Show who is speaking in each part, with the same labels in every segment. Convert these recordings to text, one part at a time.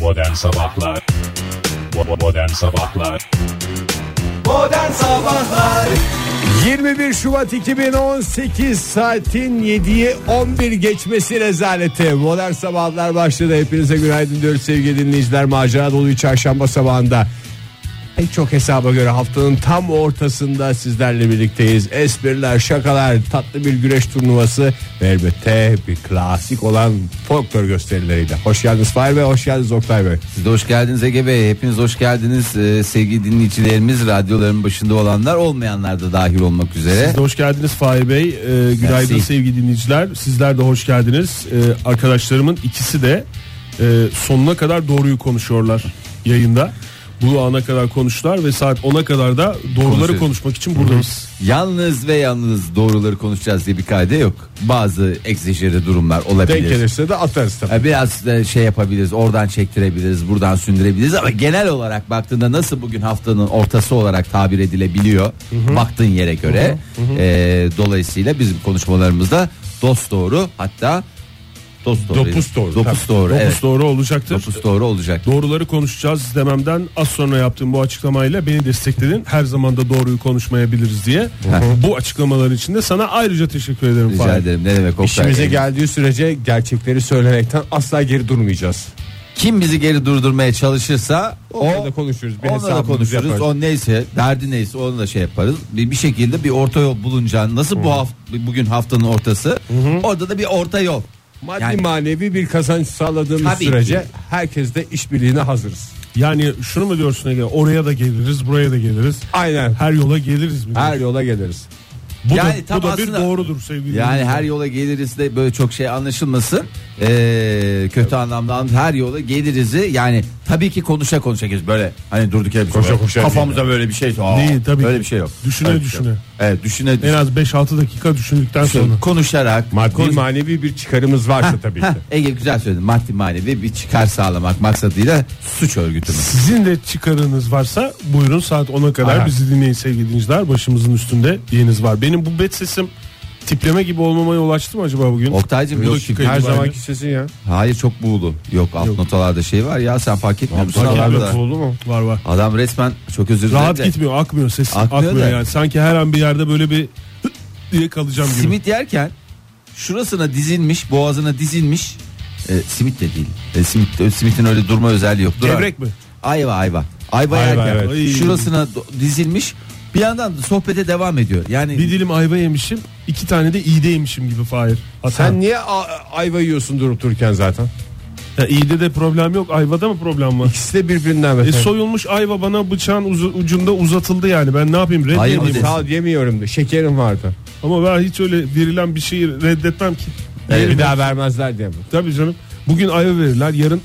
Speaker 1: Modern Sabahlar Bo- Modern Sabahlar
Speaker 2: 21 Şubat 2018 saatin 7'ye 11 geçmesi rezaleti. Modern sabahlar başladı. Hepinize günaydın diyoruz sevgili dinleyiciler. Macera dolu bir çarşamba sabahında. Pek çok hesaba göre haftanın tam ortasında sizlerle birlikteyiz. Espriler, şakalar, tatlı bir güreş turnuvası ve elbette bir klasik olan folklor gösterileriyle. Hoş geldiniz Fahir Bey, hoş geldiniz Oktay Bey.
Speaker 3: Siz de hoş geldiniz Ege Bey. Hepiniz hoş geldiniz. Ee, sevgili dinleyicilerimiz, radyoların başında olanlar, olmayanlar da dahil olmak üzere.
Speaker 4: Siz de hoş geldiniz Fahir Bey. Ee, günaydın
Speaker 3: Mersi.
Speaker 4: sevgili dinleyiciler. Sizler de hoş geldiniz. Ee, arkadaşlarımın ikisi de e, sonuna kadar doğruyu konuşuyorlar yayında. Bu ana kadar konuştular ve saat 10'a kadar da doğruları
Speaker 3: Konuşuyoruz.
Speaker 4: konuşmak için buradayız.
Speaker 3: Yalnız ve yalnız doğruları konuşacağız diye bir kaide yok. Bazı egzajeri durumlar
Speaker 2: Denk
Speaker 3: olabilir.
Speaker 2: gelirse de atarız tabii.
Speaker 3: Ee, Biraz da şey yapabiliriz. Oradan çektirebiliriz, buradan sündürebiliriz ama genel olarak baktığında nasıl bugün haftanın ortası olarak tabir edilebiliyor baktığın yere göre. Ee, dolayısıyla bizim konuşmalarımızda dost doğru hatta dost doğru.
Speaker 2: Dopuz doğru,
Speaker 3: Dopuz
Speaker 2: tabii.
Speaker 3: doğru.
Speaker 4: Dokuz
Speaker 3: evet.
Speaker 4: doğru olacaktır.
Speaker 3: Dopuz doğru olacak.
Speaker 4: Doğruları konuşacağız dememden az sonra yaptığım bu açıklamayla beni destekledin. Her zaman da doğruyu konuşmayabiliriz diye. Bu açıklamalar için de sana ayrıca teşekkür ederim.
Speaker 3: Rica
Speaker 4: Fahir.
Speaker 3: ederim. Ne demek Oktay?
Speaker 2: İşimize
Speaker 3: Ee,
Speaker 2: geldiği sürece gerçekleri söylemekten asla geri durmayacağız.
Speaker 3: Kim bizi geri durdurmaya çalışırsa
Speaker 2: Orada konuşuruz. Bir
Speaker 3: onunla da
Speaker 2: hesabımızı
Speaker 3: konuşuruz.
Speaker 2: yaparız.
Speaker 3: O neyse, derdi neyse onu da şey yaparız. Bir, bir şekilde bir orta yol bulunacağını. Nasıl bu hafta bugün haftanın ortası? Orada da bir orta yol.
Speaker 2: Maddi
Speaker 3: Yani-
Speaker 2: manevi bir kazanç sağladığımız
Speaker 3: Tabii
Speaker 2: sürece
Speaker 3: ki.
Speaker 2: herkes de işbirliğine hazırız.
Speaker 4: Yani şunu mu diyorsun Ege? Oraya da geliriz, buraya da geliriz.
Speaker 2: Aynen.
Speaker 4: Her yola geliriz mi?
Speaker 2: Her yola geliriz.
Speaker 4: Bu
Speaker 3: Yani
Speaker 4: da,
Speaker 3: tam
Speaker 4: bu da bir
Speaker 3: aslında-
Speaker 4: doğrudur sevgili
Speaker 3: Yani
Speaker 4: dinleyiciler.
Speaker 3: her yola geliriz de böyle çok şey anlaşılmasın. Ee, kötü anlamda anlamda her yola gelirizi yani tabii ki konuşa konuşa gez böyle hani durduk yere biz
Speaker 2: Koşa
Speaker 3: böyle
Speaker 2: koşa
Speaker 3: kafamıza böyle bir şey Aa,
Speaker 4: Değil, tabii
Speaker 3: böyle
Speaker 4: ki.
Speaker 3: bir şey yok.
Speaker 4: Düşüne
Speaker 3: Öyle bir şey yok.
Speaker 4: düşüne.
Speaker 3: Evet düşüne
Speaker 4: en
Speaker 3: düşüne.
Speaker 4: az 5-6 dakika düşündükten
Speaker 3: Şey-
Speaker 4: sonra.
Speaker 3: Konuşarak
Speaker 2: Maddi
Speaker 3: konuş-
Speaker 2: manevi bir şey. çıkarımız varsa tabii ki.
Speaker 3: Heh, Ege güzel söyledin. Maddi manevi bir çıkar sağlamak maksadıyla suç örgütünü.
Speaker 4: Sizin de çıkarınız varsa buyurun saat 10'a kadar
Speaker 2: Aha.
Speaker 4: bizi dinleyin sevgili dinleyiciler. Başımızın üstünde diyeniz var. Benim bu bet sesim tipleme gibi olmamaya yol açtı mı acaba bugün?
Speaker 3: Oktaycım
Speaker 4: Bu
Speaker 3: yok
Speaker 4: dakika
Speaker 3: çünkü
Speaker 2: Her
Speaker 4: itibariyle-
Speaker 2: zamanki sesin ya.
Speaker 3: Hayır çok buğulu. Yok alt notalarda şey var ya sen fark etmiyor musun?
Speaker 4: Fark
Speaker 3: Adam
Speaker 4: etmiyor
Speaker 3: da-
Speaker 4: oldu mu? Var var.
Speaker 3: Adam resmen çok özür dilerim.
Speaker 4: Rahat
Speaker 3: de,
Speaker 4: gitmiyor akmıyor ses.
Speaker 3: Akmıyor
Speaker 4: Akmıyor,
Speaker 3: da.
Speaker 4: yani. Sanki her an bir yerde böyle bir hıt diye kalacağım gibi.
Speaker 3: Simit yerken şurasına dizilmiş boğazına dizilmiş. E, simit de değil. E, simit, de- simitin öyle durma özelliği yok. Dur
Speaker 4: Gevrek
Speaker 3: abi.
Speaker 4: mi?
Speaker 3: Ayva ayva. Ayva,
Speaker 4: Ayva,
Speaker 3: yerken
Speaker 4: evet. Ay.
Speaker 3: şurasına do- dizilmiş bir yandan da sohbete devam ediyor. Yani
Speaker 4: Bir dilim ayva yemişim, iki tane de iğde yemişim gibi Fahir. Hata.
Speaker 2: Sen niye a- ayva yiyorsun durup dururken zaten?
Speaker 4: Ya iğde de problem yok, ayvada mı problem var?
Speaker 2: İkisi de birbirinden
Speaker 4: E
Speaker 2: beter.
Speaker 4: soyulmuş ayva bana bıçağın uzu- ucunda uzatıldı yani. Ben ne yapayım
Speaker 3: Hayır,
Speaker 4: reddedeyim.
Speaker 3: bir de-
Speaker 2: Sağ ol yemiyorum de. Şekerim vardı.
Speaker 4: Ama ben hiç öyle verilen bir şeyi reddetmem ki.
Speaker 3: Evet.
Speaker 2: Bir daha vermezler diye. mi?
Speaker 4: Tabii canım. Bugün ayva verirler, yarın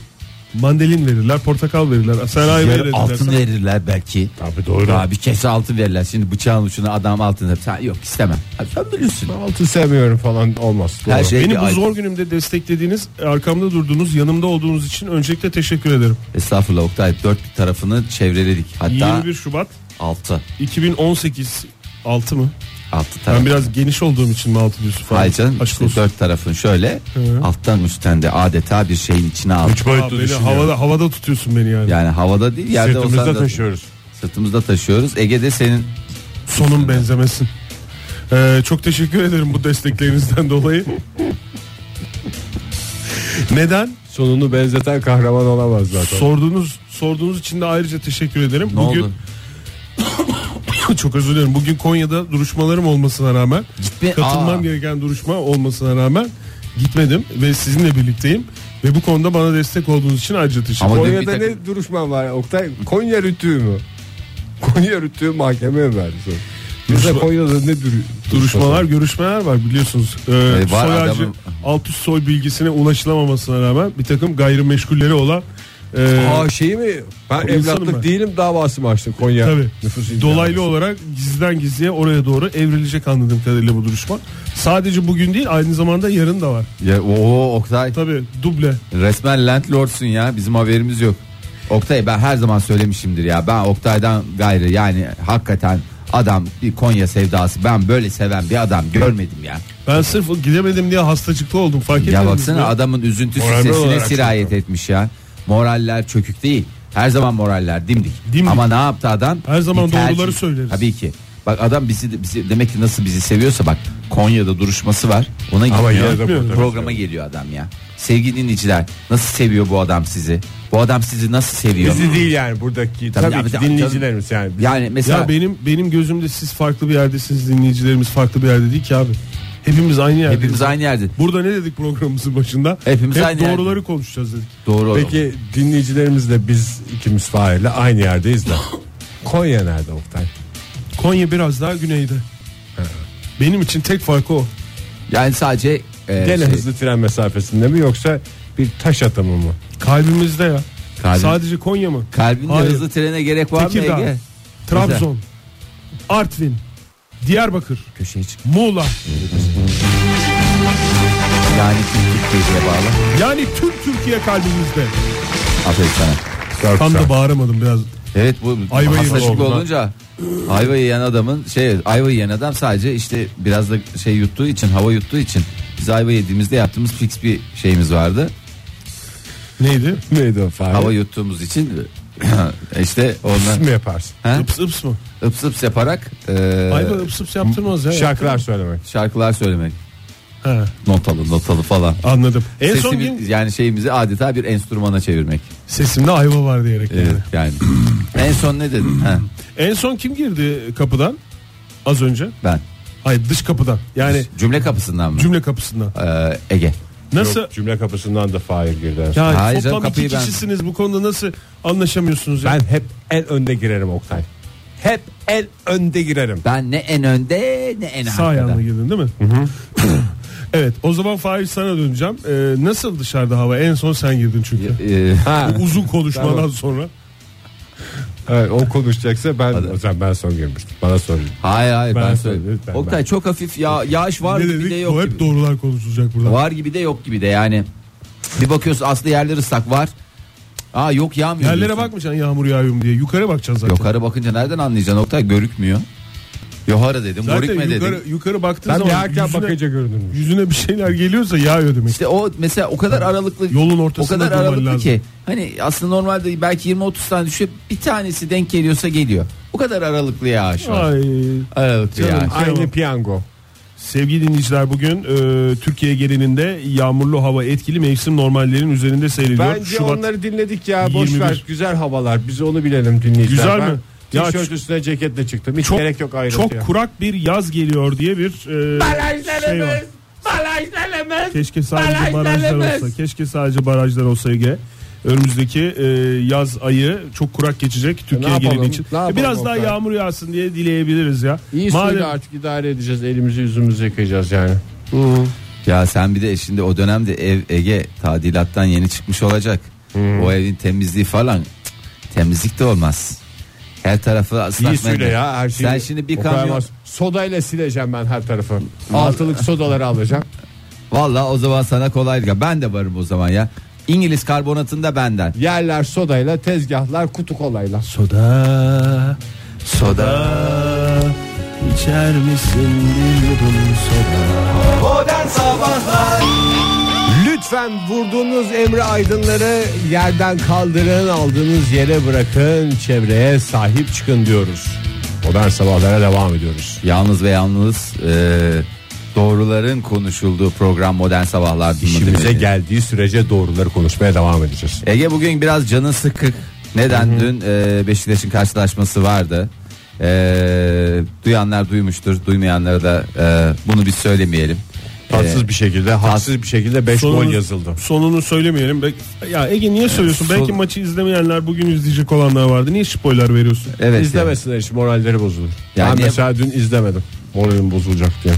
Speaker 4: mandalin verirler, portakal verirler. Sen ayva
Speaker 3: Yarı
Speaker 4: verirler.
Speaker 3: altın verirler belki.
Speaker 2: Tabii doğru.
Speaker 3: Abi kese altın verirler. Şimdi bıçağın ucuna adam altın. Sen yok istemem. Abi sen bilirsin.
Speaker 2: Altı sevmiyorum falan olmaz.
Speaker 3: Her
Speaker 2: Doğru.
Speaker 3: şey
Speaker 4: Beni bu
Speaker 3: bir
Speaker 4: zor günümde desteklediğiniz, arkamda durduğunuz, yanımda olduğunuz için öncelikle teşekkür ederim.
Speaker 3: Estağfurullah Oktay dört tarafını çevreledik. Hatta
Speaker 4: 21 Şubat
Speaker 3: altı.
Speaker 4: 2018 6 mı?
Speaker 3: Altı
Speaker 4: Ben
Speaker 3: taraf.
Speaker 4: biraz geniş olduğum için mi 6 diyorsun falan?
Speaker 3: Hayır canım
Speaker 4: Aşk
Speaker 3: işte
Speaker 4: olsun.
Speaker 3: dört tarafın şöyle alttan üstten de adeta bir şeyin içine al.
Speaker 2: Üç boyutlu
Speaker 4: Aa, beni
Speaker 2: düşünüyorum.
Speaker 4: havada, havada tutuyorsun beni yani.
Speaker 3: Yani havada değil yerde olsan
Speaker 2: Sırtımızda
Speaker 3: da-
Speaker 2: taşıyoruz.
Speaker 3: Sırtımızda taşıyoruz. Ege'de senin
Speaker 4: Sonun benzemesin. Ee, çok teşekkür ederim bu desteklerinizden dolayı. Neden?
Speaker 2: Sonunu benzeten kahraman olamaz zaten.
Speaker 4: Sorduğunuz sorduğunuz için de ayrıca teşekkür ederim.
Speaker 3: ne
Speaker 4: Bugün
Speaker 3: oldu?
Speaker 4: çok özür dilerim. Bugün Konya'da duruşmalarım olmasına rağmen
Speaker 3: Gitme-
Speaker 4: katılmam
Speaker 3: Aa.
Speaker 4: gereken duruşma olmasına rağmen gitmedim ve sizinle birlikteyim ve bu konuda bana destek olduğunuz için ayrıca teşekkür
Speaker 3: Ama
Speaker 4: ederim.
Speaker 3: dün bir
Speaker 2: Konya'da
Speaker 3: takım-
Speaker 2: ne duruşman var Oktay? Konya rütüğü mü? Konya rütüğü mahkemeye mi verdi sonra? Bize
Speaker 4: Duruşma-
Speaker 2: Konya'da ne dürü-
Speaker 4: Duruşmalar, görüşmeler var biliyorsunuz. Ee,
Speaker 3: E, var
Speaker 4: soy ağacı,
Speaker 3: adamın-
Speaker 4: alt üst soy bilgisine ulaşılamamasına rağmen bir takım gayrimeşgulleri olan e,
Speaker 2: Aa şey mi? Ben
Speaker 4: Insanım
Speaker 2: evlatlık
Speaker 4: ben.
Speaker 2: değilim davası mı açtın Konya?
Speaker 4: tabii,
Speaker 2: Nüfus İmkanı.
Speaker 4: dolaylı olarak gizliden gizliye oraya doğru evrilecek anladığım kadarıyla bu duruşma. Sadece bugün değil aynı zamanda yarın da var.
Speaker 3: Ya, oo Oktay
Speaker 4: Tabii duble.
Speaker 3: resmen landlordsun ya bizim haberimiz yok. Oktay ben her zaman söylemişimdir ya ben Oktay'dan gayrı yani hakikaten adam bir Konya sevdası ben böyle seven bir adam görmedim ya.
Speaker 4: Ben sırf gidemedim diye hasta çıktı oldum fark
Speaker 3: Ya
Speaker 4: etmediniz
Speaker 3: baksana
Speaker 4: mi?
Speaker 3: adamın üzüntüsü
Speaker 4: Moral
Speaker 3: sesine
Speaker 4: olarak
Speaker 3: sirayet etmiş ya. moraller çökük değil. Her zaman moraller dimdik.
Speaker 4: Dimdik.
Speaker 3: Ama ne yaptı adam?
Speaker 4: Her zaman
Speaker 3: Bir tercih.
Speaker 4: doğruları söyleriz.
Speaker 3: Tabii ki. Bak adam bizi, de- bizi demek ki nasıl bizi seviyorsa bak Konya'da duruşması var. Ona
Speaker 2: Ama
Speaker 3: gidiyor.
Speaker 2: yine de fotoğraf
Speaker 3: Programa geliyor adam ya. Sevgili dinleyiciler nasıl seviyor bu adam sizi? Bu adam sizi nasıl seviyor?
Speaker 2: Bizi değil yani buradaki
Speaker 3: Tabii
Speaker 2: tabii,
Speaker 3: abi,
Speaker 2: ki
Speaker 3: tabii,
Speaker 2: dinleyicilerimiz yani.
Speaker 3: Yani mesela
Speaker 4: Ya benim benim gözümde siz farklı bir yerdesiniz dinleyicilerimiz farklı bir yerde değil ki abi. Hepimiz aynı yerde.
Speaker 3: hepimiz aynı yerde.
Speaker 4: Burada ne dedik programımızın başında?
Speaker 3: Hepimiz
Speaker 4: Hep
Speaker 3: aynı
Speaker 4: doğruları
Speaker 3: yerde.
Speaker 4: konuşacağız dedik.
Speaker 3: Doğru.
Speaker 2: Peki dinleyicilerimizle biz ikimiz Fahir'le aynı yerdeyiz de. Konya nerede Oktay?
Speaker 4: Konya biraz daha güneyde. Benim için tek farkı o.
Speaker 3: Yani sadece e,
Speaker 2: Gene
Speaker 3: şey,
Speaker 2: hızlı tren mesafesinde mi yoksa bir taş atımı mı?
Speaker 4: Kalbimizde ya.
Speaker 3: Kalbim-
Speaker 4: Sadece Konya mı?
Speaker 3: kalbinde
Speaker 4: Hayır.
Speaker 3: hızlı trene gerek var mı
Speaker 4: Tekirdağ.
Speaker 3: Ege?
Speaker 4: Trabzon. Artvin. Diyarbakır.
Speaker 3: Köşeye çık.
Speaker 4: Muğla.
Speaker 3: Yani Türk Türkiye'ye bağlı.
Speaker 4: Yani tüm Türkiye kalbimizde.
Speaker 3: Aferin sana.
Speaker 2: Dört
Speaker 4: Tam da
Speaker 2: saat.
Speaker 4: bağıramadım biraz.
Speaker 3: Evet bu
Speaker 4: Ayva yiyen
Speaker 3: hastalıklı
Speaker 4: oldu.
Speaker 3: olunca ayva yiyen adamın şey ayva yiyen adam sadece işte biraz da şey yuttuğu için hava yuttuğu için biz ayva yediğimizde yaptığımız fix bir şeyimiz vardı.
Speaker 4: Neydi?
Speaker 2: neydi o Fahir?
Speaker 3: Hava yuttuğumuz için işte
Speaker 2: Siz
Speaker 3: ondan
Speaker 2: mi yaparsın?
Speaker 3: Ha?
Speaker 4: Ips ips mı?
Speaker 3: ıps ıps yaparak e,
Speaker 4: Ayva ıps ıps yaptırmaz ya.
Speaker 2: Şarkılar söylemek.
Speaker 3: şarkılar söylemek.
Speaker 4: He,
Speaker 3: Notalı notalı falan.
Speaker 4: anladım. En
Speaker 3: Sesi
Speaker 4: son
Speaker 3: bir-
Speaker 4: gün
Speaker 3: yani şeyimizi adeta bir enstrümana çevirmek.
Speaker 4: sesimde ayva var diyerek. yani.
Speaker 3: Evet yani. en son ne dedin? Ha,
Speaker 4: En son kim girdi kapıdan? Az önce.
Speaker 3: ben.
Speaker 4: Hayır dış kapıdan. Yani
Speaker 3: Cümle kapısından mı?
Speaker 4: cümle kapısından.
Speaker 3: Ee, Ege.
Speaker 4: Nasıl?
Speaker 2: Yok, cümle kapısından da Fahir girdi. en son.
Speaker 4: Ya
Speaker 3: Hayır canım,
Speaker 4: toplam iki
Speaker 3: kapıyı ben-
Speaker 4: kişisiniz bu konuda nasıl anlaşamıyorsunuz ya?
Speaker 2: Ben hep en önde girerim Oktay. Hep en önde girerim.
Speaker 3: Ben ne en önde ne en
Speaker 4: Sağ
Speaker 3: arkada.
Speaker 4: ayağına girdin değil mi? evet o zaman Fahir sana döneceğim. Ee, nasıl dışarıda hava? En son sen girdin çünkü.
Speaker 3: Ee,
Speaker 2: Ha.
Speaker 4: Bu Uzun konuşmadan sonra.
Speaker 2: Evet, o konuşacaksa ben o zaman ben son girmiştim. Bana sorun.
Speaker 3: hayır hayır ben,
Speaker 2: Ben
Speaker 3: söyleyeyim.
Speaker 2: söyleyeyim, ben-
Speaker 3: Oktay
Speaker 2: ben.
Speaker 3: çok hafif ya yağış var
Speaker 4: ne
Speaker 3: gibi de
Speaker 4: dedik?
Speaker 3: yok
Speaker 4: O hep
Speaker 3: gibi.
Speaker 4: doğrular konuşulacak burada.
Speaker 3: Var gibi de yok gibi de yani. Bir bakıyorsun aslı yerleri ıslak var. Aa yok yağmıyor.
Speaker 4: Yerlere
Speaker 3: diyorsun.
Speaker 4: bakmayacaksın yağmur yağıyor mu diye. Yukarı bakacaksın zaten.
Speaker 3: Yukarı bakınca nereden anlayacaksın Oktay görükmüyor. Yohara dedim,
Speaker 4: Zaten
Speaker 3: görükme dedim.
Speaker 4: yukarı, yukarı baktığın
Speaker 2: Ben
Speaker 4: zaman
Speaker 2: yağarken
Speaker 4: yüzüne,
Speaker 2: bakınca görünürmüş.
Speaker 4: yüzüne bir şeyler geliyorsa yağıyor demek.
Speaker 3: İşte o mesela o kadar aralıklı
Speaker 4: Yolun
Speaker 3: o
Speaker 4: ortasında
Speaker 3: kadar
Speaker 4: durman
Speaker 3: aralıklı
Speaker 4: lazım.
Speaker 3: ki hani aslında normalde belki 20 30 tane düşüyor. Bir tanesi denk geliyorsa geliyor. O kadar aralıklı yağış var.
Speaker 4: Ay.
Speaker 3: Aralıklı
Speaker 4: Canım.
Speaker 3: yağış.
Speaker 2: Aynı piyango.
Speaker 4: Sevgili dinleyiciler bugün e, Türkiye genelinde yağmurlu hava etkili mevsim normallerinin üzerinde seyrediyor.
Speaker 2: Bence
Speaker 4: Şubat
Speaker 2: onları dinledik ya. Boş
Speaker 4: 21.
Speaker 2: ver. Güzel havalar. Biz onu bilelim dinleyiciler.
Speaker 4: Güzel
Speaker 2: Ben
Speaker 4: mi? Ya
Speaker 2: Tişört
Speaker 4: ç-
Speaker 2: üstüne ceketle çıktım. Hiç
Speaker 4: çok-
Speaker 2: gerek yok ayrıntıya.
Speaker 4: çok kurak bir yaz geliyor diye bir e, şey var. Keşke sadece barajlar olsa. Keşke sadece barajlar olsa Ege. Önümüzdeki e, yaz ayı çok kurak geçecek Türkiye
Speaker 2: yapalım?
Speaker 4: genelinde için.
Speaker 2: E,
Speaker 4: E,
Speaker 2: Ne yapalım
Speaker 4: Biraz daha
Speaker 2: Oktay?
Speaker 4: yağmur yağsın diye dileyebiliriz ya.
Speaker 2: İyi suyla artık idare edeceğiz. Elimizi yüzümüzü yıkayacağız yani.
Speaker 3: Ya sen bir de şimdi o dönemde ev Ege tadilattan yeni çıkmış olacak.
Speaker 2: Hmm.
Speaker 3: O evin temizliği falan cık, temizlik de olmaz. Her tarafı ıslak
Speaker 2: İyi suyla
Speaker 3: mendil.
Speaker 2: ya her şeyi.
Speaker 3: Sen şimdi bir
Speaker 2: O kadar
Speaker 3: kamyon
Speaker 2: var. Sodayla sileceğim ben her tarafı.
Speaker 3: Al.
Speaker 2: Altılık sodaları alacağım.
Speaker 3: Valla o zaman sana kolaylık. ya. Ben de varım o zaman ya. İngiliz karbonatında benden.
Speaker 2: Yerler sodayla, tezgahlar kutu kolayla.
Speaker 4: Soda,
Speaker 3: Soda.
Speaker 4: içer misin bir yudum soda?
Speaker 2: Lütfen vurduğunuz emri aydınları yerden kaldırın, aldığınız yere bırakın, çevreye sahip çıkın diyoruz. Modern sabahlara devam ediyoruz.
Speaker 3: Yalnız ve yalnız e, doğruların konuşulduğu program Modern Sabahlar. Bunu
Speaker 2: İşimize
Speaker 3: dinleyin.
Speaker 2: geldiği sürece doğruları konuşmaya devam edeceğiz.
Speaker 3: Ege bugün biraz canın sıkık. Neden dün e, Beşiktaş'ın karşılaşması vardı. E, duyanlar duymuştur, duymayanlara da e, bunu biz söylemeyelim.
Speaker 2: Tatsız bir şekilde, haksız bir şekilde 5 gol yazıldı.
Speaker 4: Sonunu söylemeyelim. Bek- Ya Ege niye söylüyorsun?
Speaker 3: son-
Speaker 4: Belki maçı izlemeyenler bugün izleyecek olanlar vardı. Niye spoiler veriyorsun?
Speaker 3: Evet.
Speaker 2: İzlemesinler hiç moralleri bozulur.
Speaker 3: Yani-
Speaker 2: ben mesela dün izlemedim. Moralim bozulacak diye.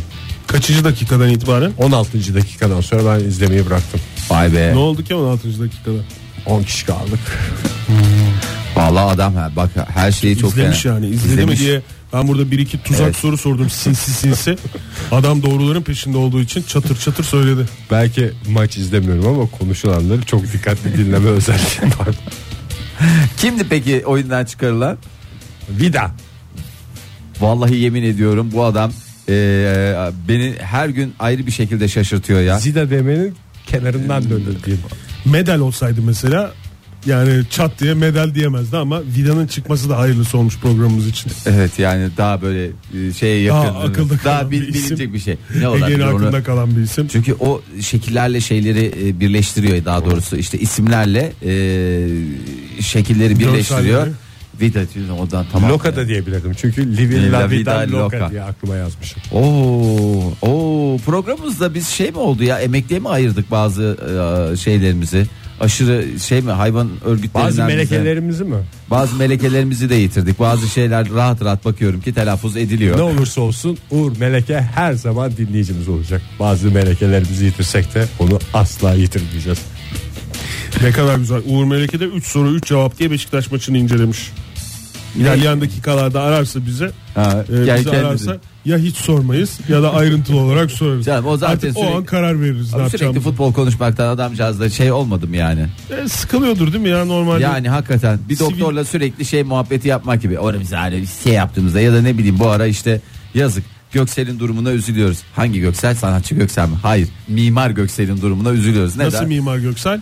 Speaker 4: Kaçıncı dakikadan itibaren?
Speaker 2: 16. dakikadan sonra ben izlemeyi bıraktım.
Speaker 3: Vay be.
Speaker 4: Ne oldu ki 16. dakikada?
Speaker 2: 10 kişi kaldık.
Speaker 3: Vallahi adam ha, bak her şeyi çok
Speaker 4: İzlemiş
Speaker 3: fena.
Speaker 4: yani izledi
Speaker 3: İzlemiş.
Speaker 4: mi diye ben burada bir iki tuzak
Speaker 3: Evet.
Speaker 4: soru sordum sinsi sinsi adam doğruların peşinde olduğu için çatır çatır söyledi
Speaker 2: Belki maç izlemiyorum ama konuşulanları çok dikkatli dinleme özelliği var.
Speaker 3: Kimdi peki oyundan çıkarılan?
Speaker 2: Vida.
Speaker 3: Vallahi yemin ediyorum bu adam e, beni her gün ayrı bir şekilde şaşırtıyor ya.
Speaker 2: Zida demenin kenarından döndü diyeyim.
Speaker 4: medal olsaydı mesela yani çat diye medal diyemezdi ama vidanın çıkması da hayırlısı olmuş programımız için.
Speaker 3: Evet yani daha böyle e, şeye
Speaker 4: Daha
Speaker 3: yakın.
Speaker 4: akılda kalan
Speaker 3: daha
Speaker 4: bir
Speaker 3: bil-
Speaker 4: isim.
Speaker 3: bilinecek bir şey. Ne
Speaker 4: Ege'nin
Speaker 3: olabilir onu?
Speaker 4: aklında kalan bir isim.
Speaker 3: Çünkü o şekillerle şeyleri e, birleştiriyor daha doğrusu işte isimlerle e, şekilleri birleştiriyor.
Speaker 4: Görselleri.
Speaker 3: Vida diyor, oradan tamam.
Speaker 2: Loka da diyebilirdim çünkü Livin La Vida Loca diye aklıma yazmışım.
Speaker 3: Oo, oo programımızda biz şey mi oldu ya emekliye mi ayırdık bazı e, şeylerimizi? Aşırı şey mi hayvan örgütlerinden
Speaker 2: Bazı
Speaker 3: bize-
Speaker 2: melekelerimizi mi?
Speaker 3: bazı melekelerimizi de yitirdik. Bazı şeyler rahat rahat bakıyorum ki telaffuz ediliyor.
Speaker 2: Ne olursa olsun Uğur Meleke her zaman dinleyicimiz olacak. Bazı melekelerimizi yitirsek de onu asla yitirmeyeceğiz.
Speaker 4: Ne kadar güzel. Uğur Meleke de 3 soru 3 cevap diye Beşiktaş maçını incelemiş. İlerleyen dakikalarda ararsa bize,
Speaker 3: Ha,
Speaker 4: e,
Speaker 3: gel
Speaker 4: bizi
Speaker 3: kendisi.
Speaker 4: ararsa ya hiç sormayız ya da ayrıntılı olarak sorarız.
Speaker 3: Canım, o zaten
Speaker 4: Artık
Speaker 3: sürekli-
Speaker 4: o an karar veririz ne
Speaker 3: Abi sürekli
Speaker 4: yapacağımızı.
Speaker 3: futbol konuşmaktan adamcağızda şey olmadım yani.
Speaker 4: E, sıkılıyordur değil mi ya normalde?
Speaker 3: Yani hakikaten bir
Speaker 4: Sivil-
Speaker 3: doktorla sürekli şey muhabbeti yapmak gibi. Orada biz hani bir şey yaptığımızda ya da ne bileyim bu ara işte yazık. Göksel'in durumuna üzülüyoruz. Hangi Göksel? Sanatçı Göksel mi? Hayır. Mimar Göksel'in durumuna üzülüyoruz. Neden?
Speaker 4: Nasıl Mimar Göksel?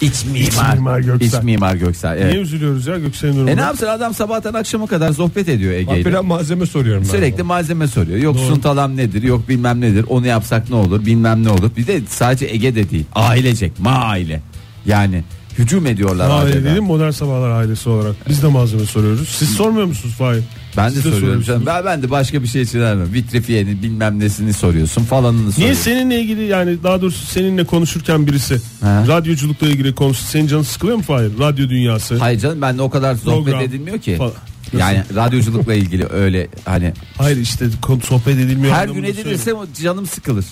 Speaker 3: İç mimar.
Speaker 4: mimar Göksel.
Speaker 3: İç mimar Göksel. Evet.
Speaker 4: Niye üzülüyoruz ya Göksel'in durumuna?
Speaker 3: E ne yapsın adam sabahtan akşama kadar sohbet ediyor Ege'yle.
Speaker 2: Hakikaten malzeme soruyorum ben.
Speaker 3: Sürekli malzeme soruyor. Yok suntalam nedir? Yok bilmem nedir? Onu yapsak ne olur? Bilmem ne olur? Bir de sadece Ege de değil. Ailecek. Ma aile. Yani hücum ediyorlar
Speaker 4: Aile
Speaker 3: aileden.
Speaker 4: dedim modern sabahlar ailesi olarak. Biz de malzeme soruyoruz. Siz sormuyor musunuz Fahir?
Speaker 3: Ben de
Speaker 4: Siz de
Speaker 3: soruyorum
Speaker 4: soruyorsunuz.
Speaker 3: canım. Ben, ben de başka bir şey için aramıyorum. Vitrifiyenin bilmem nesini soruyorsun falanını
Speaker 4: Niye
Speaker 3: soruyorsun.
Speaker 4: seninle ilgili yani daha doğrusu seninle konuşurken birisi
Speaker 3: Ha.
Speaker 4: radyoculukla ilgili konuşsa senin canın sıkılıyor mu Fahir? Radyo dünyası.
Speaker 3: Hayır canım ben de o kadar sohbet
Speaker 4: Program
Speaker 3: edilmiyor ki.
Speaker 4: falan.
Speaker 3: Yani radyoculukla ilgili öyle hani
Speaker 4: Hayır işte kon- sohbet edilmiyor.
Speaker 3: her gün
Speaker 4: anlamında
Speaker 3: edilirse
Speaker 4: söylüyorum.
Speaker 3: o canım sıkılır.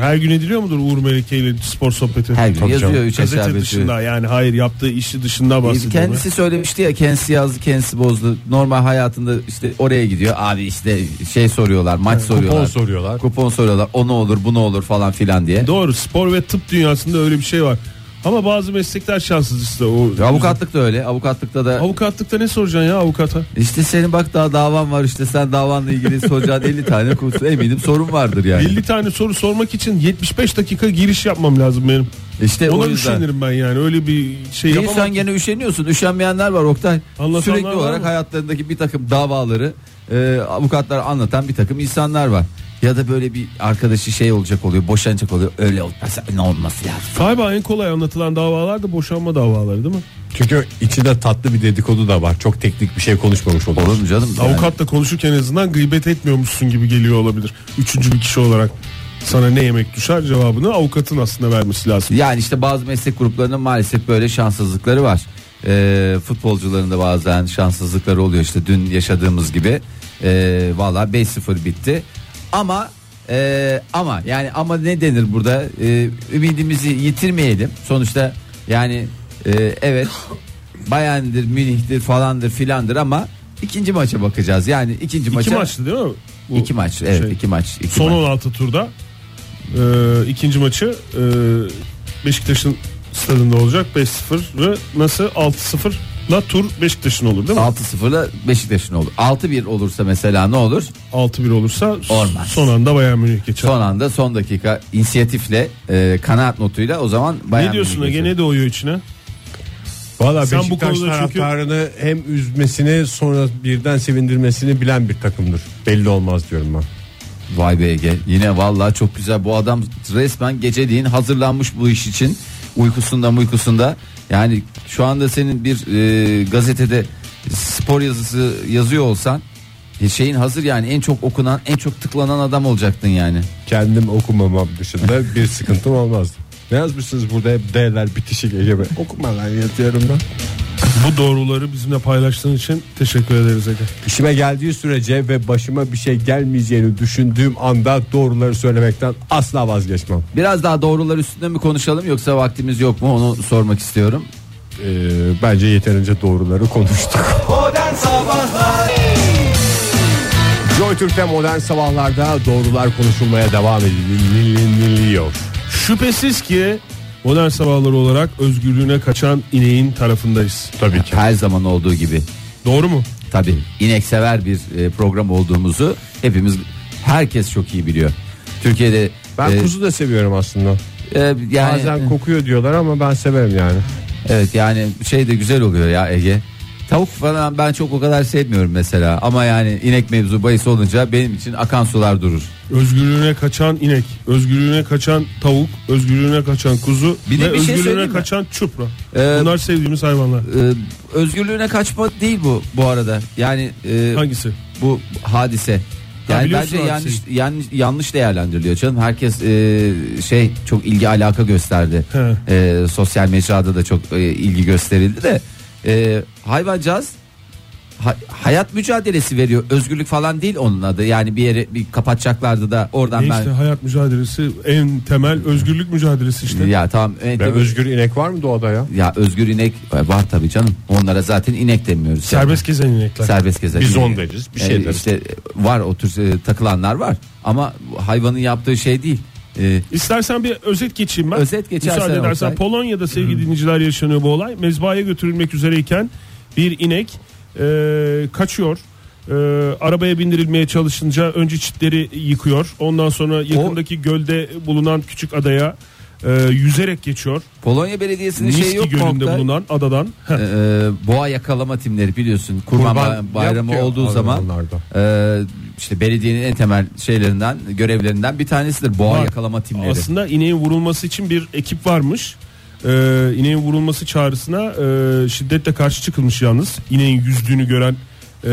Speaker 4: Her gün ediliyor mudur Uğur Melike ile spor sohbeti?
Speaker 3: Her gün
Speaker 4: Tabii
Speaker 3: yazıyor,
Speaker 4: canım.
Speaker 3: üç aşağı
Speaker 4: Gazete
Speaker 3: beş
Speaker 4: dışında yani hayır yaptığı işi dışında bahsediyor.
Speaker 3: Kendisi söylemişti ya kendisi yazdı kendisi bozdu. Normal hayatında işte oraya gidiyor. Abi işte şey soruyorlar, maç soruyorlar.
Speaker 2: Kupon soruyorlar.
Speaker 3: Kupon soruyorlar. O ne olur, bu ne olur falan filan diye.
Speaker 4: Doğru spor ve tıp dünyasında öyle bir şey var. Ama bazı meslekler şanssız işte. O,
Speaker 3: Avukatlık da öyle. Avukatlıkta da
Speaker 4: Avukatlıkta ne soracaksın ya avukata?
Speaker 3: işte senin bak daha davan var işte sen davanla ilgili soracağın 50 tane kursu eminim sorun vardır yani.
Speaker 4: 50 tane soru sormak için 75 dakika giriş yapmam lazım benim.
Speaker 3: İşte
Speaker 4: Ona
Speaker 3: E, o yüzden.
Speaker 4: üşenirim ben yani. Öyle bir şey
Speaker 3: Değil
Speaker 4: yapamam.
Speaker 3: sen gene üşeniyorsun. Üşenmeyenler var Oktay.
Speaker 4: Anlatanlar
Speaker 3: Sürekli
Speaker 4: var
Speaker 3: olarak
Speaker 4: mı?
Speaker 3: hayatlarındaki bir takım davaları e, avukatlar anlatan bir takım insanlar var. Ya da böyle bir arkadaşı şey olacak oluyor, boşanacak oluyor. Öyle olmasa ne olması lazım.
Speaker 4: Galiba en kolay anlatılan davalar da boşanma davaları değil mi?
Speaker 2: Çünkü içinde tatlı bir dedikodu da var. Çok teknik bir şey konuşmamış oluyor.
Speaker 3: Olur mu canım? Yani
Speaker 4: Avukatla konuşurken en azından gıybet etmiyormuşsun gibi geliyor olabilir. Üçüncü bir kişi olarak sana ne yemek düşer cevabını avukatın aslında vermesi lazım.
Speaker 3: Yani işte bazı meslek gruplarının maalesef böyle şanssızlıkları var. Ee, futbolcuların da bazen şanssızlıkları oluyor işte dün yaşadığımız gibi. Ee, Valla 5-0 bitti. Ama e, ama yani ama ne denir burada? Ee, ümidimizi yitirmeyelim. Sonuçta yani e, evet Bayern'dir, Münih'tir falandır filandır ama ikinci maça bakacağız. Yani ikinci maça
Speaker 4: İki maçtı değil mi? Bu
Speaker 3: iki maç. Evet,
Speaker 4: şey.
Speaker 3: iki maç. iki
Speaker 4: Son
Speaker 3: maç.
Speaker 4: 16 turda e, ikinci maçı e, Beşiktaş'ın stadında olacak 5-0 ve nasıl 6-0 la tur Beşiktaş'ın olur değil mi?
Speaker 3: 6-0'la Beşiktaş'ın olur. 6-1 olursa mesela ne olur?
Speaker 4: 6-1 olursa s-
Speaker 3: Olmaz.
Speaker 4: son anda Bayern Münih geçer.
Speaker 3: Son anda son dakika inisiyatifle e, kanaat notuyla o zaman bayan
Speaker 4: ne diyorsun Ege
Speaker 3: gene
Speaker 4: ne doğuyor içine?
Speaker 2: Valla
Speaker 4: Sen bu
Speaker 2: Beşiktaş
Speaker 4: konuda çünkü-
Speaker 2: taraftarını hem üzmesini sonra birden sevindirmesini bilen bir takımdır. Belli olmaz diyorum ben.
Speaker 3: Vay be Ege yine vallahi çok güzel bu adam resmen geceliğin hazırlanmış bu iş için uykusunda uykusunda yani şu anda senin bir e, gazetede spor yazısı yazıyor olsan e, şeyin hazır yani en çok okunan en çok tıklanan adam olacaktın yani.
Speaker 2: Kendim okumamam dışında bir sıkıntım olmazdı. Ne yazmışsınız burada hep D'ler bitişik Ege Bey. Okumadan yatıyorum ben.
Speaker 4: Bu doğruları bizimle paylaştığın için teşekkür ederiz Ege.
Speaker 2: İşime geldiği sürece ve başıma bir şey gelmeyeceğini düşündüğüm anda doğruları söylemekten asla vazgeçmem.
Speaker 3: Biraz daha doğrular üstünde mi konuşalım yoksa vaktimiz yok mu onu sormak istiyorum.
Speaker 2: Ee, bence yeterince doğruları konuştuk. Joy Türk'te modern sabahlarda doğrular konuşulmaya devam ediliyor.
Speaker 4: Şüphesiz ki modern sabahlar olarak özgürlüğüne kaçan ineğin tarafındayız. Tabii ki.
Speaker 3: Her zaman olduğu gibi.
Speaker 4: Doğru mu?
Speaker 3: Tabii ineksever bir e, program olduğumuzu hepimiz herkes çok iyi biliyor. Türkiye'de
Speaker 2: Ben
Speaker 3: e,
Speaker 2: kuzu da seviyorum aslında.
Speaker 3: Ee, yani,
Speaker 2: Bazen kokuyor diyorlar ama ben severim yani.
Speaker 3: Evet yani şey de güzel oluyor ya Ege. Tavuk falan ben çok o kadar sevmiyorum mesela. Ama yani inek mevzu bahis olunca benim için akan sular durur.
Speaker 4: Özgürlüğüne kaçan inek, özgürlüğüne kaçan tavuk, özgürlüğüne kaçan kuzu
Speaker 3: Bir de bir
Speaker 4: ve
Speaker 3: şey
Speaker 4: özgürlüğüne
Speaker 3: söyleyeyim mi?
Speaker 4: kaçan çupra.
Speaker 3: Ee,
Speaker 4: Bunlar sevdiğimiz hayvanlar.
Speaker 3: Ee, özgürlüğüne kaçma değil bu bu arada. Yani e,
Speaker 4: Hangisi?
Speaker 3: bu hadise.
Speaker 4: Ha,
Speaker 3: Yani
Speaker 4: biliyorsun
Speaker 3: bence yanlış,
Speaker 4: hadiseyi.
Speaker 3: yanlış yanlış değerlendiriliyor canım. Herkes e, şey çok ilgi alaka gösterdi.
Speaker 4: He.
Speaker 3: E, sosyal mecrada da çok e, ilgi gösterildi de e, hayvancağız ha- hayat mücadelesi veriyor. Özgürlük falan değil onun adı. Yani bir yere bir kapatacaklardı da oradan
Speaker 4: E
Speaker 3: ben
Speaker 4: işte hayat mücadelesi en temel özgürlük mücadelesi işte.
Speaker 3: ya tamam e,
Speaker 2: Ben
Speaker 3: tabii-
Speaker 2: özgür inek var mı doğada ya?
Speaker 3: ya özgür inek e, var tabii canım. Onlara zaten inek demiyoruz. yani.
Speaker 4: Serbest gezen inekler.
Speaker 3: serbest gezen.
Speaker 2: Bizon deriz, bir şey
Speaker 3: Yani
Speaker 2: deriz.
Speaker 3: Ee, işte var o tür e, takılanlar var ama hayvanın yaptığı şey değil. E,
Speaker 4: İstersen bir özet geçeyim ben.
Speaker 3: Özet geçersen
Speaker 4: Müsaade edersen
Speaker 3: Oktay.
Speaker 4: Polonya'da sevgili dinleyiciler yaşanıyor bu olay. Mezbahaya götürülmek üzereyken bir inek e, kaçıyor. E, arabaya bindirilmeye çalışınca önce çitleri yıkıyor. Ondan sonra yakındaki gölde bulunan küçük adaya e, yüzerek geçiyor.
Speaker 3: Polonya Belediyesi'nin
Speaker 4: Niski
Speaker 3: şeyi şey yok mu
Speaker 4: gölünde
Speaker 3: Oktay?
Speaker 4: bulunan adadan. Heh.
Speaker 3: E, boğa yakalama timleri biliyorsun kurban,
Speaker 2: Kurban
Speaker 3: ba- bayramı
Speaker 2: yapıyor
Speaker 3: olduğu zaman
Speaker 2: hayvanlarda.
Speaker 3: e, işte belediyenin en temel şeylerinden görevlerinden bir tanesidir boğa
Speaker 4: Var.
Speaker 3: yakalama timleri.
Speaker 4: Aslında ineğin vurulması için bir ekip varmış. Ee, ineğin vurulması çağrısına e, şiddetle karşı çıkılmış yalnız. İneğin yüzdüğünü gören e,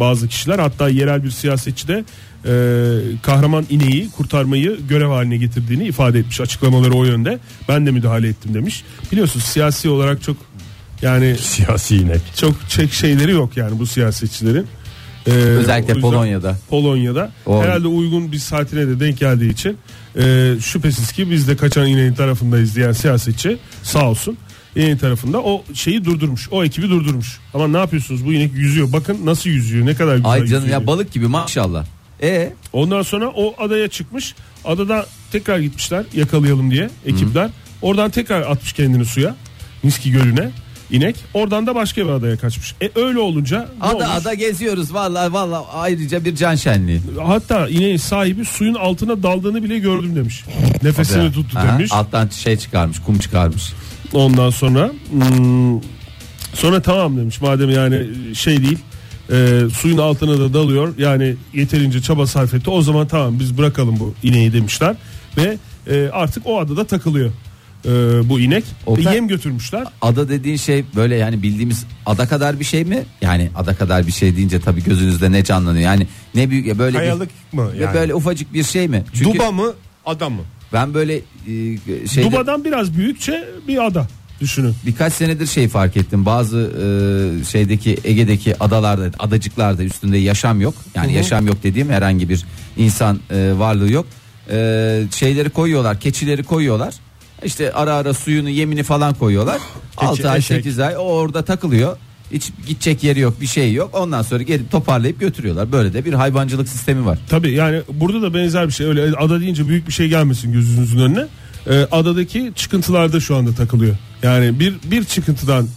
Speaker 4: bazı kişiler hatta yerel bir siyasetçi de e, kahraman ineği kurtarmayı görev haline getirdiğini ifade etmiş. Açıklamaları o yönde. Ben de müdahale ettim demiş. Biliyorsunuz siyasi olarak çok yani
Speaker 2: Siyasi inek.
Speaker 4: çok çek şeyleri yok yani bu siyasetçilerin. Ee,
Speaker 3: Özellikle
Speaker 4: o yüzden-
Speaker 3: Polonya'da.
Speaker 4: Polonya'da
Speaker 3: O-
Speaker 4: herhalde uygun bir saatine de denk geldiği için e, şüphesiz ki biz de kaçan ineğin tarafındayız diyen siyasetçi sağ olsun ineğin tarafında o şeyi durdurmuş o ekibi durdurmuş ama ne yapıyorsunuz bu inek yüzüyor bakın nasıl yüzüyor ne kadar güzel
Speaker 3: Ay canım
Speaker 4: yüzüyor
Speaker 3: ya
Speaker 4: diyor.
Speaker 3: balık gibi maşallah. E
Speaker 4: ondan sonra o adaya çıkmış adada tekrar gitmişler yakalayalım diye ekipler oradan tekrar atmış kendini suya Miski Gölü'ne inek oradan da başka bir adaya kaçmış e öyle olunca ne
Speaker 3: ada
Speaker 4: olmuş?
Speaker 3: ada geziyoruz vallahi vallahi ayrıca bir can şenliği.
Speaker 4: Hatta ineğin sahibi suyun altına daldığını bile gördüm demiş. Nefesini tuttu
Speaker 3: Aha,
Speaker 4: demiş.
Speaker 3: alttan şey çıkarmış kum çıkarmış.
Speaker 4: Ondan sonra hmm, sonra tamam demiş. Madem yani şey değil. e, suyun altına da dalıyor. Yani yeterince çaba sarf etti. O zaman tamam biz bırakalım bu ineği demişler ve e, artık o adada takılıyor. e, bu inek
Speaker 3: O
Speaker 4: Ve
Speaker 3: da-
Speaker 4: yem götürmüşler.
Speaker 3: Ada dediğin şey böyle yani bildiğimiz ada kadar bir şey mi? Yani ada kadar bir şey deyince tabii gözünüzde ne canlanıyor? Yani ne büyük ya böyle
Speaker 2: Kayalık mı
Speaker 3: bir,
Speaker 2: yani?
Speaker 3: böyle ufacık bir şey mi? Çünkü
Speaker 2: Duba mı adam mı?
Speaker 3: ben böyle şey
Speaker 4: Duba'dan biraz büyükçe bir ada düşünün.
Speaker 3: birkaç senedir şey fark ettim. Bazı e, şeydeki Ege'deki adalarda, adacıklarda üstünde yaşam yok. Yani yaşam yok dediğim herhangi bir insan e, varlığı yok. E, şeyleri koyuyorlar, keçileri koyuyorlar. İşte ara ara suyunu, yemini falan koyuyorlar. 6 ay,
Speaker 2: eşek.
Speaker 3: 8 ay o orada takılıyor. Hiç gidecek yeri yok, bir şey yok. Ondan sonra gelip toparlayıp götürüyorlar. Böyle de bir hayvancılık sistemi var.
Speaker 4: Tabii yani burada da benzer bir şey. Öyle ada deyince büyük bir şey gelmesin gözünüzün önüne. Ee, adadaki çıkıntılarda şu anda takılıyor. Yani bir bir çıkıntıdan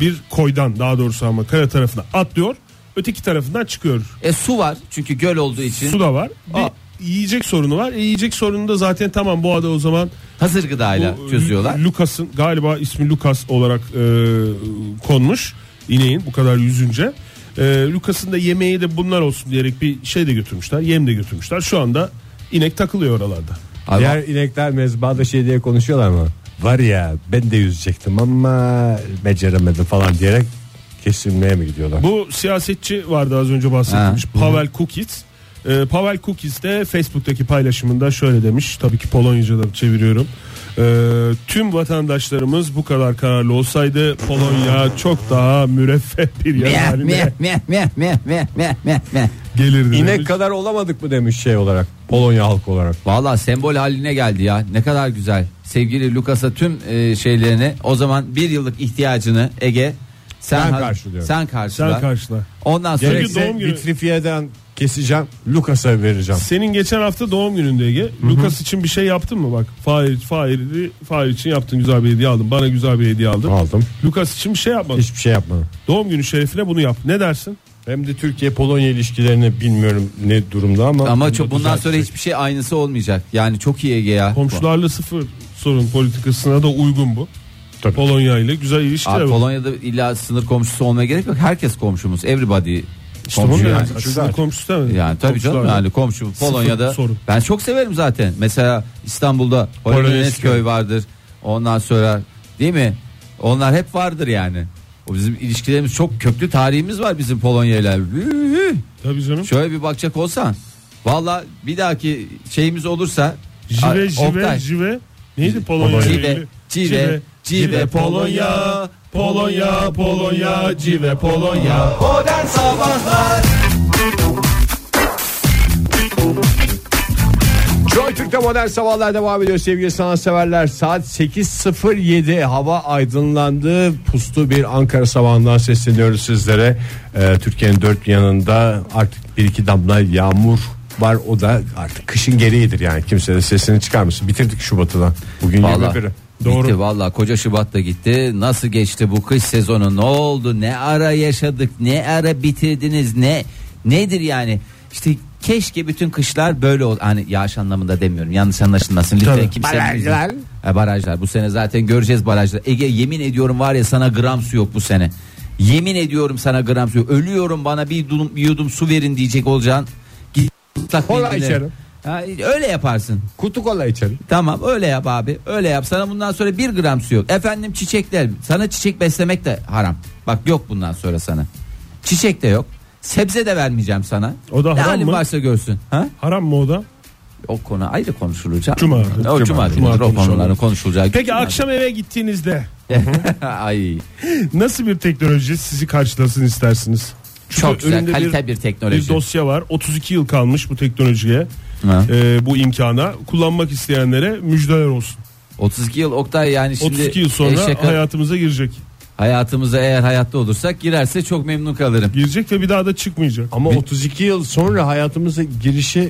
Speaker 4: bir koydan daha doğrusu ama kara tarafına atlıyor. Öteki tarafından çıkıyor.
Speaker 3: E su var çünkü göl olduğu için.
Speaker 4: Su da var. Bir
Speaker 3: Aa.
Speaker 4: yiyecek sorunu var. E, yiyecek sorunu da zaten tamam bu ada o zaman
Speaker 3: Hazır gıdayla
Speaker 4: bu, e,
Speaker 3: çözüyorlar.
Speaker 4: Lucas'ın galiba ismi Lucas olarak e, konmuş ineğin bu kadar yüzünce. E, Lucas'ın da yemeği de bunlar olsun diyerek bir şey de götürmüşler. Yem de götürmüşler. Şu anda inek takılıyor oralarda.
Speaker 3: Hayvan-
Speaker 2: Diğer inekler mezbahada şey diye konuşuyorlar mı? Var ya ben de yüzecektim ama beceremedim falan diyerek kesilmeye mi gidiyorlar?
Speaker 4: Bu siyasetçi vardı az önce bahsettiğimiz
Speaker 3: Ha.
Speaker 4: Pavel Kukiz. Ee, Pavel Kukiz de Facebook'taki paylaşımında şöyle demiş. Tabii ki Polonyacadan çeviriyorum. Ee, tüm vatandaşlarımız bu kadar kararlı olsaydı Polonya çok daha müreffeh bir yer
Speaker 3: Meh, meh,
Speaker 4: haline
Speaker 3: meh, meh, meh, meh, meh, meh, meh.
Speaker 4: gelirdi.
Speaker 2: İnek
Speaker 4: demiş.
Speaker 2: kadar olamadık mı demiş şey olarak Polonya halkı olarak.
Speaker 3: Valla sembol haline geldi ya. Ne kadar güzel. Sevgili Lukas'a tüm e, şeylerini o zaman bir yıllık ihtiyacını Ege sen
Speaker 2: Ben
Speaker 3: har-
Speaker 2: karşılıyorum.
Speaker 3: Sen karşıla.
Speaker 4: Sen karşıla.
Speaker 3: Ondan sonra
Speaker 2: Gerekse
Speaker 4: doğum günü-
Speaker 2: vitrifiyeden keseceğim Lucas'a vereceğim.
Speaker 4: Senin geçen hafta doğum gününde Ege. Lucas için bir şey yaptın mı bak? Fahir, Fahir'i Fahir için yaptın güzel bir hediye aldın. Bana güzel bir hediye aldın.
Speaker 2: Aldım.
Speaker 4: Lucas için bir şey yapmadın.
Speaker 2: Hiçbir şey yapmadım.
Speaker 4: Doğum günü şerefine bunu yap. Ne dersin?
Speaker 2: Hem de Türkiye Polonya ilişkilerini bilmiyorum ne durumda ama
Speaker 3: ama çok bundan sonra
Speaker 2: düzeltecek.
Speaker 3: hiçbir şey aynısı olmayacak. Yani çok iyi Ege ya.
Speaker 4: Komşularla sıfır sorun politikasına da uygun bu.
Speaker 2: Tabii.
Speaker 4: Polonya ile güzel ilişkiler
Speaker 3: Abi
Speaker 4: var.
Speaker 3: Polonya'da illa sınır komşusu olmaya gerek yok. Herkes komşumuz. Everybody
Speaker 4: İşte
Speaker 3: komşu
Speaker 4: bunu
Speaker 3: yani.
Speaker 4: yani. Aslında komşusu da mı?
Speaker 3: Yani tabii
Speaker 4: Komşular
Speaker 3: canım
Speaker 4: da.
Speaker 3: yani komşu Polonya'da
Speaker 4: sorun.
Speaker 3: ben çok severim zaten. Mesela İstanbul'da
Speaker 4: Polonezköy
Speaker 3: Polonezköy vardır. Ondan sonra değil mi? Onlar hep vardır yani. O bizim ilişkilerimiz çok köklü tarihimiz var bizim Polonya ile. Üü.
Speaker 4: Tabii canım.
Speaker 3: Şöyle bir bakacak olsan. Valla bir dahaki şeyimiz olursa
Speaker 4: Jive
Speaker 3: Ay,
Speaker 4: jive
Speaker 3: Oktay.
Speaker 4: jive. Neydi Polonya? ile
Speaker 3: Jive,
Speaker 4: ilgili?
Speaker 3: jive, jive, Polonya,
Speaker 4: Polonya, Polonya, Cive, Polonya.
Speaker 2: Joy Türk'te modern sabahlar devam ediyor sevgili sanatseverler. Saat 8.07 hava aydınlandı. Puslu bir Ankara sabahından sesleniyoruz sizlere. Ee, Türkiye'nin dört yanında artık bir iki damla yağmur var. O da artık kışın gereğidir yani. Kimse de sesini çıkarmasın. Bitirdik Şubat'ı da. Bugün
Speaker 3: Vallahi
Speaker 2: 21'i.
Speaker 3: Doğru.
Speaker 2: Doğru.
Speaker 3: Gitti valla koca Şubat'ta gitti. Nasıl geçti bu kış sezonu? Ne oldu? Ne ara yaşadık? Ne ara bitirdiniz? Ne nedir yani? İşte keşke bütün kışlar böyle oldu. Hani yağış anlamında demiyorum. Yanlış anlaşılmasın. Lütfen
Speaker 4: Tabii.
Speaker 3: kimse Ha, barajlar. Bu sene zaten göreceğiz barajlar. Ege yemin ediyorum var ya sana gram su yok bu sene. Yemin ediyorum sana gram su yok. Ölüyorum bana bir yudum, bir yudum su verin diyecek olacaksın. Git ıslak
Speaker 2: Kola
Speaker 3: mendille-
Speaker 2: içerim.
Speaker 3: Ha, öyle yaparsın.
Speaker 2: Kutu kola içelim.
Speaker 3: Tamam öyle yap abi öyle yap sana bundan sonra bir gram su yok efendim çiçekler sana çiçek beslemek de haram bak yok bundan sonra sana çiçek de yok sebze de vermeyeceğim sana
Speaker 4: O da
Speaker 3: ne
Speaker 4: haram
Speaker 3: halin
Speaker 4: mı?
Speaker 3: varsa görsün ha?
Speaker 4: Haram mı o da?
Speaker 3: o konu ayrı konuşulacak
Speaker 4: Cuma.
Speaker 3: o cuma,
Speaker 4: Cuma.
Speaker 3: günü
Speaker 4: Cuma
Speaker 3: o konuların
Speaker 4: konuşalım.
Speaker 3: konuşulacak
Speaker 4: Peki
Speaker 3: Cuma.
Speaker 4: akşam eve gittiğinizde
Speaker 3: ay
Speaker 4: nasıl bir teknoloji sizi karşılasın istersiniz? Çünkü
Speaker 3: çok güzel
Speaker 4: önünde
Speaker 3: kalite bir, teknoloji
Speaker 4: Bir dosya var. 32 yıl kalmış bu teknolojiye.
Speaker 3: Ha.
Speaker 4: e, bu imkana. Kullanmak isteyenlere müjdeler olsun.
Speaker 3: 32 yıl Oktay yani şimdi
Speaker 4: 32 yıl sonra
Speaker 3: eşek-
Speaker 4: hayatımıza girecek.
Speaker 3: hayatımıza eğer hayatta olursak girerse çok memnun kalırım
Speaker 4: Girecek ve bir daha da çıkmayacak.
Speaker 2: Ama 32 yıl sonra hayatımıza girişi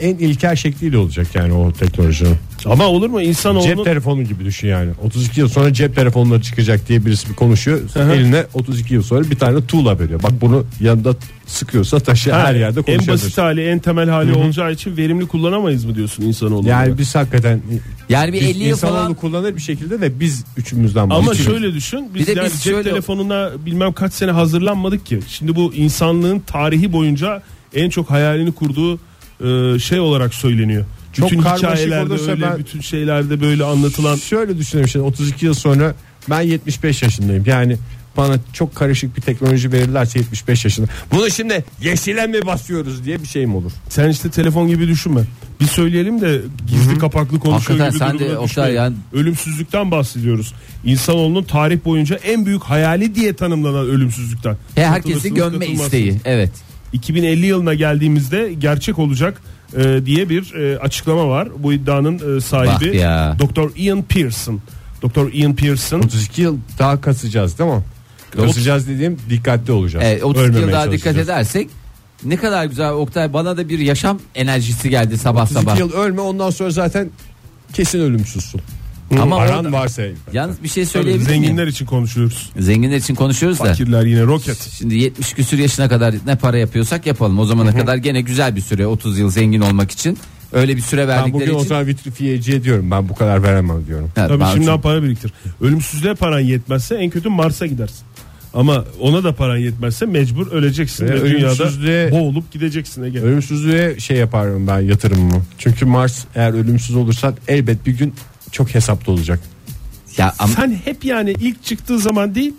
Speaker 2: en ilkel şekliyle olacak yani o teknolojinin.
Speaker 4: Ama olur mu insan
Speaker 2: Cep telefonu gibi düşün yani. 32 yıl sonra cep telefonları çıkacak diye birisi bir konuşuyor. Eline 32 yıl sonra bir tane tuğla veriyor. Bak bunu yanında sıkıyorsa taşı her yerde
Speaker 4: en
Speaker 2: konuşabilir.
Speaker 4: basit hali en temel hali olacağı için verimli kullanamayız mı diyorsun insanoğlu?
Speaker 2: Yani biz hakikaten
Speaker 3: yani bir
Speaker 2: biz
Speaker 3: 50 yıl
Speaker 2: insanoğlu
Speaker 3: falan
Speaker 2: kullanır bir şekilde de biz üçümüzden
Speaker 4: Ama
Speaker 2: bahsediyoruz.
Speaker 4: şöyle düşün biz,
Speaker 3: Bir de
Speaker 4: yani
Speaker 3: biz
Speaker 4: cep
Speaker 3: şöyle-
Speaker 4: telefonuna bilmem kaç sene hazırlanmadık ki. Şimdi bu insanlığın tarihi boyunca en çok hayalini kurduğu e, şey olarak söyleniyor.
Speaker 2: Çok
Speaker 4: bütün
Speaker 2: karmaşık
Speaker 4: hikayelerde
Speaker 2: olursa
Speaker 4: öyle,
Speaker 2: ben-
Speaker 4: bütün şeylerde böyle anlatılan
Speaker 2: şöyle düşünüyorum şimdi 32 yıl sonra ben 75 yaşındayım. Yani bana çok karışık bir teknoloji verirlerse 75 yaşında. Bunu şimdi yeşile mi basıyoruz diye bir şey mi olur?
Speaker 4: Sen işte telefon gibi düşünme. Bir söyleyelim de gizli kapaklı konuşuyor
Speaker 3: Hakikaten
Speaker 4: gibi
Speaker 3: sen de
Speaker 4: durumda
Speaker 3: Oktay
Speaker 4: düşmeyin.
Speaker 3: yani-
Speaker 4: Ölümsüzlükten bahsediyoruz. İnsanoğlunun tarih boyunca en büyük hayali diye tanımlanan ölümsüzlükten.
Speaker 3: He, herkesin
Speaker 4: Katılırsınız,
Speaker 3: gömme
Speaker 4: katılmazsınız.
Speaker 3: isteği evet
Speaker 4: 2050 yılına geldiğimizde gerçek olacak e, diye bir e, açıklama var. Bu iddianın e,
Speaker 3: Bak
Speaker 4: sahibi
Speaker 3: ya.
Speaker 4: Doktor Ian Pearson. Doktor Ian Pearson
Speaker 2: 32 yıl daha kasacağız değil mi? Kasacağız dediğim dikkatli olacağız.
Speaker 3: Evet, 32 E, yıl
Speaker 2: Ölmemeye
Speaker 3: daha dikkat
Speaker 2: çalışacağız.
Speaker 3: edersek ne kadar güzel Oktay bana da bir yaşam enerjisi geldi sabah
Speaker 2: 32
Speaker 3: sabah.
Speaker 2: yıl ölme ondan sonra zaten kesin ölümsüzsün.
Speaker 3: Ama
Speaker 2: Ama Paran
Speaker 3: orada-
Speaker 2: varsa.
Speaker 3: Yalnız bir şey
Speaker 4: Tabii,
Speaker 3: söyleyebilir miyim?
Speaker 4: zenginler için konuşuyoruz.
Speaker 3: Zenginler için konuşuyoruz da.
Speaker 4: Fakirler yine roket.
Speaker 3: Şimdi 70 küsür yaşına kadar ne para yapıyorsak yapalım. O zamana kadar gene güzel bir süre 30 yıl zengin olmak için. Öyle bir süre
Speaker 2: Ben bugün
Speaker 3: verdikleri
Speaker 2: o
Speaker 3: için.
Speaker 2: zaman vitrifiyeciye diyorum ben bu kadar veremem diyorum.
Speaker 3: Evet,
Speaker 4: Tabii
Speaker 3: ben-
Speaker 4: şimdiden para biriktir. Ölümsüzlüğe paran yetmezse en kötü Mars'a gidersin. Ama ona da paran yetmezse mecbur öleceksin
Speaker 2: Ve
Speaker 4: ve,
Speaker 2: ölümsüzlüğe-
Speaker 4: dünyada boğulup gideceksin Ege.
Speaker 2: Ölümsüzlüğe şey yaparım ben yatırımımı. Çünkü Mars eğer ölümsüz olursak elbet bir gün çok hesaplı olacak.
Speaker 3: Ya ama
Speaker 4: Sen hep yani ilk çıktığı zaman değil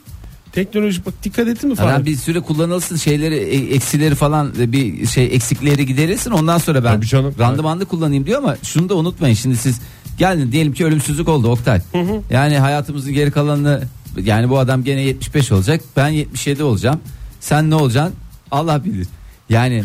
Speaker 4: teknoloji bak dikkat ettin mi
Speaker 3: Adam
Speaker 4: falan.
Speaker 3: bir süre kullanılsın şeyleri e- eksileri falan e, bir şey eksikleri giderilsin ondan sonra ben
Speaker 2: Tabii canım.
Speaker 3: randımanlı kullanayım diyor ama şunu da unutmayın şimdi siz gelin diyelim ki ölümsüzlük oldu Oktay. Yani hayatımızın geri kalanını yani bu adam gene 75 olacak ben 77 olacağım sen ne olacaksın Allah bilir. Yani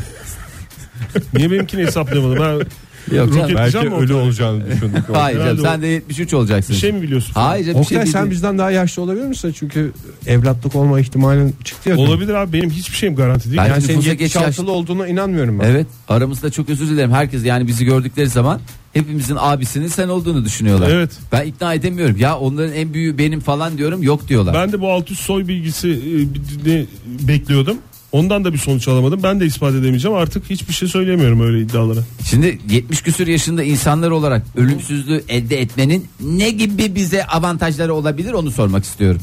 Speaker 4: Niye benimkini hesaplayamadım? Ben
Speaker 3: Yok canım.
Speaker 4: Roket-
Speaker 2: Belki
Speaker 4: Gideceğim mi
Speaker 2: ölü
Speaker 4: o tarafa?
Speaker 2: olacağını düşündük.
Speaker 3: hayır canım,
Speaker 4: herhalde o-
Speaker 3: sen de 73 olacaksın.
Speaker 4: bir şey mi biliyorsun? falan?
Speaker 3: Hayır canım, bir şey
Speaker 2: Oktay
Speaker 3: değil.
Speaker 2: sen bizden daha yaşlı olabilir misin? Çünkü evlatlık olma ihtimalin çıktı ya.
Speaker 4: Olabilir abi benim hiçbir şeyim garanti değil.
Speaker 3: Ben-
Speaker 2: Yani
Speaker 3: Nüfusa
Speaker 2: senin
Speaker 3: geç
Speaker 2: 76'lı
Speaker 3: yaşlı-
Speaker 2: olduğuna inanmıyorum ben.
Speaker 3: Evet aramızda çok özür dilerim herkes yani bizi gördükleri zaman hepimizin abisinin sen olduğunu düşünüyorlar.
Speaker 4: Evet.
Speaker 3: Ben ikna edemiyorum ya onların en büyüğü benim falan diyorum yok diyorlar.
Speaker 4: Ben de bu alt üst soy bilgisi e, bir- ne bekliyordum. Ondan da bir sonuç alamadım. Ben de ispat edemeyeceğim. Artık hiçbir şey söyleyemiyorum öyle iddialara.
Speaker 3: Şimdi 70 küsür yaşında insanlar olarak ölümsüzlüğü elde etmenin ne gibi bize avantajları olabilir onu sormak istiyorum.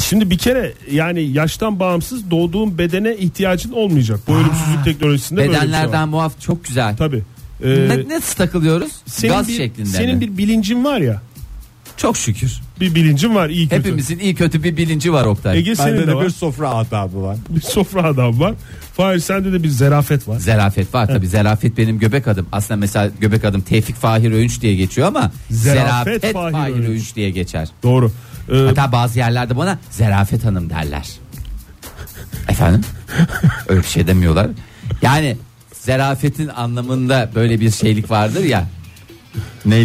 Speaker 4: Şimdi bir kere yani yaştan bağımsız doğduğun bedene ihtiyacın olmayacak. Bu ölümsüzlük teknolojisinde böyle bir şey var.
Speaker 3: Bedenlerden muaf çok güzel.
Speaker 4: Tabii. Ee,
Speaker 3: ne, ne takılıyoruz?
Speaker 4: senin
Speaker 3: Gaz
Speaker 4: bir,
Speaker 3: şeklinde.
Speaker 4: Senin
Speaker 3: mi?
Speaker 4: bir bilincin var ya.
Speaker 3: çok şükür.
Speaker 4: Bir bilincin var iyi kötü.
Speaker 3: Hepimizin iyi kötü bir bilinci var Oktay.
Speaker 4: Ege
Speaker 2: Bende
Speaker 4: senin de
Speaker 2: de
Speaker 4: var.
Speaker 2: bir sofra hatabı var.
Speaker 4: Bir sofra adam var. Fahir sende de bir zerafet var.
Speaker 3: Zerafet var tabi. Zerafet benim göbek adım. Aslında mesela göbek adım Tevfik Fahir Öğünç diye geçiyor ama
Speaker 4: Zerafet
Speaker 3: Zerafet,
Speaker 4: Fahir
Speaker 3: Fahir,
Speaker 4: Öğünç.
Speaker 3: Öğünç. diye geçer.
Speaker 4: Doğru. Ee,
Speaker 3: Hatta bazı yerlerde bana Zerafet Hanım derler. Efendim? Öyle bir şey demiyorlar. Yani zerafetin anlamında böyle bir şeylik vardır ya. Neydi?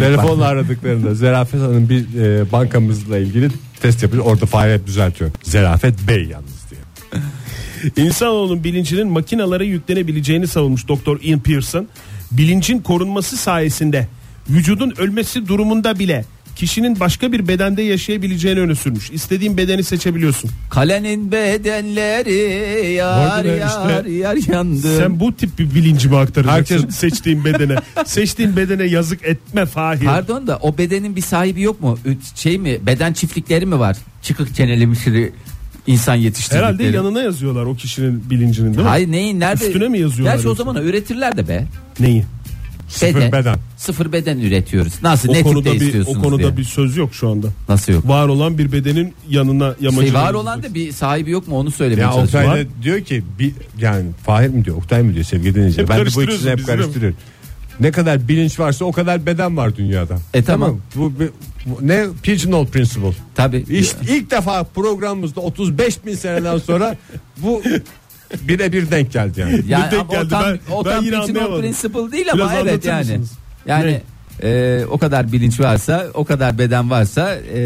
Speaker 2: Telefonla aradıklarında Zerafet Hanım bir e, bankamızla ilgili test yapıyor. Orada faaliyet düzeltiyor. Zerafet Bey yalnız diye.
Speaker 4: İnsanoğlunun bilincinin makinalara yüklenebileceğini savunmuş Doktor Ian Pearson. Bilincin korunması sayesinde vücudun ölmesi durumunda bile kişinin başka bir bedende yaşayabileceğini öne sürmüş. İstediğin bedeni seçebiliyorsun.
Speaker 3: Kalenin bedenleri
Speaker 4: Bu
Speaker 3: yar
Speaker 4: arada
Speaker 3: yar
Speaker 4: işte
Speaker 3: yar yandı.
Speaker 4: Sen bu tip bir bilinci mi aktarıyorsun?
Speaker 2: Herkes-
Speaker 4: seçtiğin bedene. seçtiğin bedene yazık etme Fahir.
Speaker 3: Pardon da o bedenin bir sahibi yok mu? Ü- Şey mi? Beden çiftlikleri mi var? Çıkık çeneli müşri insan yetiştirdikleri.
Speaker 4: Herhalde yanına yazıyorlar o kişinin bilincinin değil mi?
Speaker 3: Hayır neyin nerede?
Speaker 4: Üstüne mi yazıyorlar
Speaker 3: Gerçi o
Speaker 4: yoksa?
Speaker 3: zaman üretirler de be. Şey
Speaker 4: Neyi?
Speaker 2: Sıfır beden.
Speaker 3: Sıfır beden üretiyoruz. Nasıl
Speaker 4: O
Speaker 3: ne
Speaker 4: konuda
Speaker 3: tipte
Speaker 4: bir o
Speaker 3: istiyorsunuz
Speaker 4: konuda
Speaker 3: diye.
Speaker 4: bir söz yok şu anda.
Speaker 3: Nasıl yok?
Speaker 4: Var olan bir bedenin yanına yamacı.
Speaker 3: Şey, var olan da bir sahibi yok mu onu söylemeye
Speaker 2: Ya
Speaker 3: çalışıyorum.
Speaker 2: Oktay da diyor ki bir, yani Fahir mi diyor Oktay mı diyor sevgili dinleyiciler.
Speaker 4: Hep
Speaker 2: Ben de bu
Speaker 4: karıştırıyorsun
Speaker 2: ikisini hep
Speaker 4: bizi, değil mi?
Speaker 2: karıştırıyorum. Ne kadar bilinç varsa o kadar beden var dünyada.
Speaker 3: E, tamam.
Speaker 2: Bu, bir- bu ne pigeonhole principle.
Speaker 3: Tabii.
Speaker 2: İşte ilk defa programımızda 35 bin seneden sonra bu birebir denk geldi yani.
Speaker 3: Yani
Speaker 4: Ne denk
Speaker 3: ama
Speaker 4: geldi?
Speaker 3: o tam,
Speaker 4: Ben-
Speaker 3: o
Speaker 4: ben
Speaker 3: tam
Speaker 4: yine
Speaker 3: principle
Speaker 4: anlayamadım.
Speaker 3: principle değil ama
Speaker 4: Biraz
Speaker 3: evet
Speaker 4: anlatır
Speaker 3: yani.
Speaker 4: mısınız?
Speaker 3: Yani e, o kadar bilinç varsa, o kadar beden varsa e,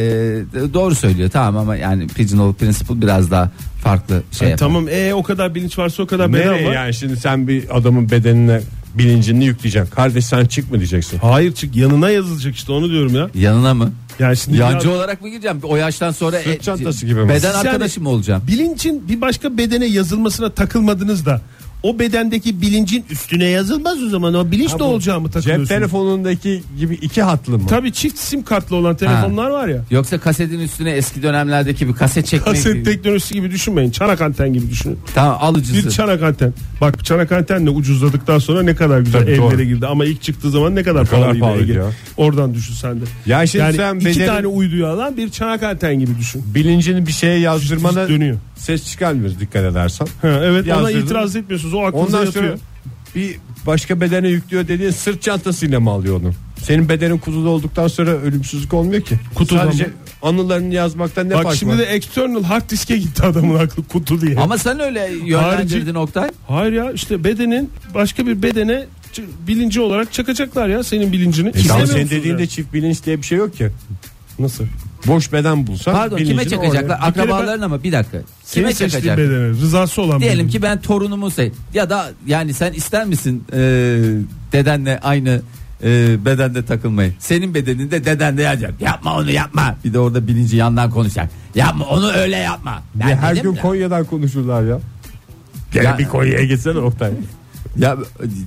Speaker 3: doğru söylüyor. Tamam ama yani pigeonhole principle biraz daha farklı şey.
Speaker 4: Yani
Speaker 3: yapar.
Speaker 4: tamam e o kadar bilinç varsa o kadar beden
Speaker 2: Nereye
Speaker 4: var.
Speaker 2: yani şimdi sen bir adamın bedenine bilincini yükleyeceksin. Kardeş sen çık mı diyeceksin.
Speaker 4: Hayır çık yanına yazılacak işte onu diyorum ya.
Speaker 3: Yanına mı?
Speaker 4: Yani şimdi
Speaker 3: Yancı
Speaker 4: ya-
Speaker 3: olarak mı gireceğim? O yaştan sonra e,
Speaker 2: Sırt çantası gibi mi?
Speaker 3: beden
Speaker 4: Yani-
Speaker 3: arkadaşım olacağım.
Speaker 4: bilincin bir başka bedene yazılmasına takılmadınız da o bedendeki bilincin üstüne yazılmaz o zaman o bilinç ne olacağımı
Speaker 2: Cep
Speaker 4: takılıyorsunuz.
Speaker 2: telefonundaki gibi iki hatlı mı?
Speaker 4: Tabii çift sim kartlı olan telefonlar var ya.
Speaker 3: Yoksa kasetin üstüne eski dönemlerdeki bir kaset çekmek
Speaker 4: Kaset
Speaker 3: gibi.
Speaker 4: teknolojisi gibi düşünmeyin. Çanak anten gibi düşünün.
Speaker 3: Tamam alıcısı.
Speaker 4: Bir çanak anten. Bak çanak antenle ucuzladıktan sonra ne kadar güzel
Speaker 2: Tabii,
Speaker 4: evlere
Speaker 2: doğru.
Speaker 4: girdi ama ilk çıktığı zaman ne kadar,
Speaker 2: kadar
Speaker 4: pahalıydı.
Speaker 2: pahalıydı
Speaker 4: Ege.
Speaker 2: ya.
Speaker 4: Oradan düşün sen de.
Speaker 2: Ya şimdi
Speaker 4: yani
Speaker 2: sen
Speaker 4: iki
Speaker 2: bedenin-
Speaker 4: tane uyduyu alan bir çanak anten gibi düşün.
Speaker 2: Bilincini bir şeye yazdırmana
Speaker 4: Dönüyor.
Speaker 2: ses çıkarmıyoruz dikkat edersen.
Speaker 4: Ha, evet ona
Speaker 2: Yazdırdın.
Speaker 4: itiraz etmiyorsunuz. O aklınıza
Speaker 2: Ondan
Speaker 4: yatıyor.
Speaker 2: sonra bir başka bedene yüklüyor dediğin sırt çantasıyla mı alıyor onu? Senin bedenin kutuda olduktan sonra ölümsüzlük olmuyor ki.
Speaker 4: Kutuda
Speaker 2: Sadece
Speaker 4: mı?
Speaker 2: anılarını yazmaktan ne
Speaker 4: Bak
Speaker 2: fark
Speaker 4: şimdi
Speaker 2: var? E
Speaker 4: de external hard diske gitti adamın aklı kutu diye.
Speaker 3: Ama sen öyle yönlendirdin Oktay.
Speaker 4: Hayır ya işte bedenin başka bir bedene ç- bilinci olarak çakacaklar ya senin bilincini.
Speaker 2: E tamam,
Speaker 4: İstemiyor
Speaker 2: senin
Speaker 4: musunuz
Speaker 2: dediğinde
Speaker 4: yani?
Speaker 2: çift bilinç diye bir şey yok ki.
Speaker 4: nasıl?
Speaker 2: Boş beden bulsan
Speaker 3: Pardon kime
Speaker 2: bilincini
Speaker 3: çakacaklar?
Speaker 2: oraya-
Speaker 3: Akrabalarına mı? Bir dakika.
Speaker 4: Senin
Speaker 3: Kime
Speaker 4: seçtiğin
Speaker 3: çakacak?
Speaker 4: bedene rızası olan
Speaker 3: Diyelim
Speaker 4: bilinci.
Speaker 3: ki ben torunumu se ya da yani sen ister misin e, dedenle aynı e, bedende takılmayı? Senin bedeninde dedende yazacak. Yapma onu yapma. Bir de orada bilinci yandan konuşacak. Yapma onu öyle yapma. Ben
Speaker 2: Ya her
Speaker 3: dedim
Speaker 2: gün
Speaker 3: ya.
Speaker 2: Konya'dan konuşurlar ya. Gel
Speaker 3: Ya-
Speaker 2: bir Konya'ya gitsene Oktay.
Speaker 3: Ya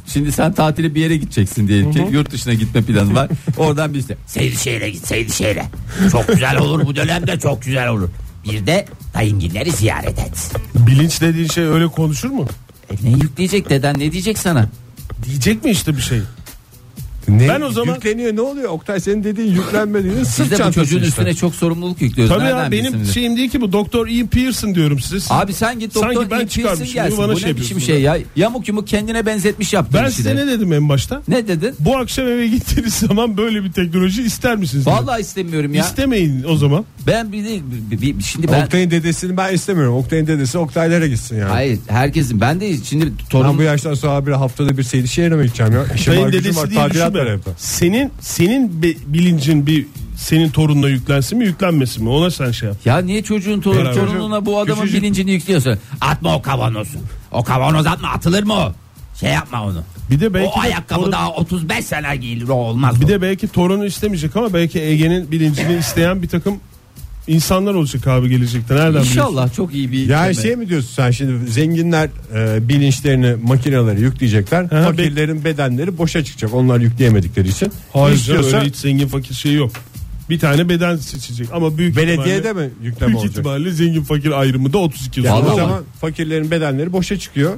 Speaker 3: şimdi sen tatile bir yere gideceksin diyelim ki yurt dışına gitme planın var. Oradan bir işte Seydişehir'e git Seydişehir'e. Çok güzel olur bu dönemde çok güzel olur. Bir de dayınginleri ziyaret et.
Speaker 4: Bilinç dediğin şey öyle konuşur mu?
Speaker 3: E ne yükleyecek deden ne diyecek sana?
Speaker 4: Diyecek mi işte bir şey?
Speaker 2: Ne,
Speaker 4: Ben o zaman-
Speaker 2: Yükleniyor ne oluyor Oktay senin dediğin yüklenme dediğin
Speaker 3: Siz
Speaker 2: sırt
Speaker 3: de bu
Speaker 2: çantası
Speaker 3: çocuğun
Speaker 2: işte.
Speaker 3: üstüne çok sorumluluk yüklüyoruz.
Speaker 4: Tabii ya
Speaker 3: Nereden
Speaker 4: benim
Speaker 3: bilsin?
Speaker 4: şeyim değil ki bu Doktor Ian Pearson diyorum size. Siz-
Speaker 3: Abi sen git
Speaker 4: Sanki
Speaker 3: doktor
Speaker 4: ben
Speaker 3: İlk Pearson
Speaker 4: çıkarmışım,
Speaker 3: gelsin.
Speaker 4: bana
Speaker 3: Bu
Speaker 4: şey
Speaker 3: ne biçim
Speaker 4: yapıyorsun
Speaker 3: şey ya? Yamuk yumuk kendine benzetmiş yaptın.
Speaker 4: ben
Speaker 3: işi
Speaker 4: size
Speaker 3: şey de.
Speaker 4: ne dedim en başta?
Speaker 3: ne dedin?
Speaker 4: Bu akşam eve gittiğiniz zaman böyle bir teknoloji ister misiniz? dedim.
Speaker 3: Vallahi istemiyorum ya.
Speaker 4: İstemeyin o zaman.
Speaker 3: ben bir, de- bir- bir- şimdi ben
Speaker 2: Oktay'ın dedesini ben istemiyorum. Oktay'ın dedesi Oktay'lara gitsin yani.
Speaker 3: Hayır herkesin ben de şimdi
Speaker 2: Ben
Speaker 3: torun
Speaker 2: bu yaştan sonra bir haftada bir Seydişehir'e mi gideceğim ya? İşim
Speaker 4: Sayın
Speaker 2: var, gücüm
Speaker 4: dedesi
Speaker 2: var,
Speaker 4: diye
Speaker 2: tadilat
Speaker 4: düşünme.
Speaker 2: var evde.
Speaker 4: Senin senin bi- bilincin bir senin torununa yüklensin mi yüklenmesin mi? Ona sen şey yap.
Speaker 3: Ya niye çocuğun torun-
Speaker 2: Beraber.
Speaker 3: torununa bu adamın
Speaker 2: Küçücük-
Speaker 3: bilincini yüklüyorsun? Atma o kavanozu. O kavanoz atma atılır mı o? Şey yapma onu.
Speaker 4: Bir de belki
Speaker 3: o ayakkabı
Speaker 4: torun-
Speaker 3: daha 35 sene giyilir o olmaz.
Speaker 4: Bir
Speaker 3: o.
Speaker 4: de belki torunu istemeyecek ama belki Ege'nin bilincini isteyen bir takım insanlar olacak abi gelecekte. Nereden biliyorsun?
Speaker 3: İnşallah çok iyi bir
Speaker 2: Yani
Speaker 3: deme.
Speaker 2: şey mi diyorsun sen şimdi zenginler e, bilinçlerini makinelere yükleyecekler.
Speaker 4: Aha,
Speaker 2: Fakirlerin bedenleri boşa çıkacak. Onlar yükleyemedikleri için.
Speaker 4: Hayır canım,
Speaker 2: İstiyorsa
Speaker 4: öyle hiç zengin fakir şeyi yok. Bir tane beden seçecek ama büyük
Speaker 2: belediyede
Speaker 4: ihtimalle,
Speaker 2: mi yükleme
Speaker 4: büyük
Speaker 2: olacak?
Speaker 4: ihtimalle zengin fakir ayrımı da 32
Speaker 2: Yani
Speaker 4: sonra.
Speaker 2: o
Speaker 3: Vallahi
Speaker 2: zaman fakirlerin bedenleri boşa çıkıyor.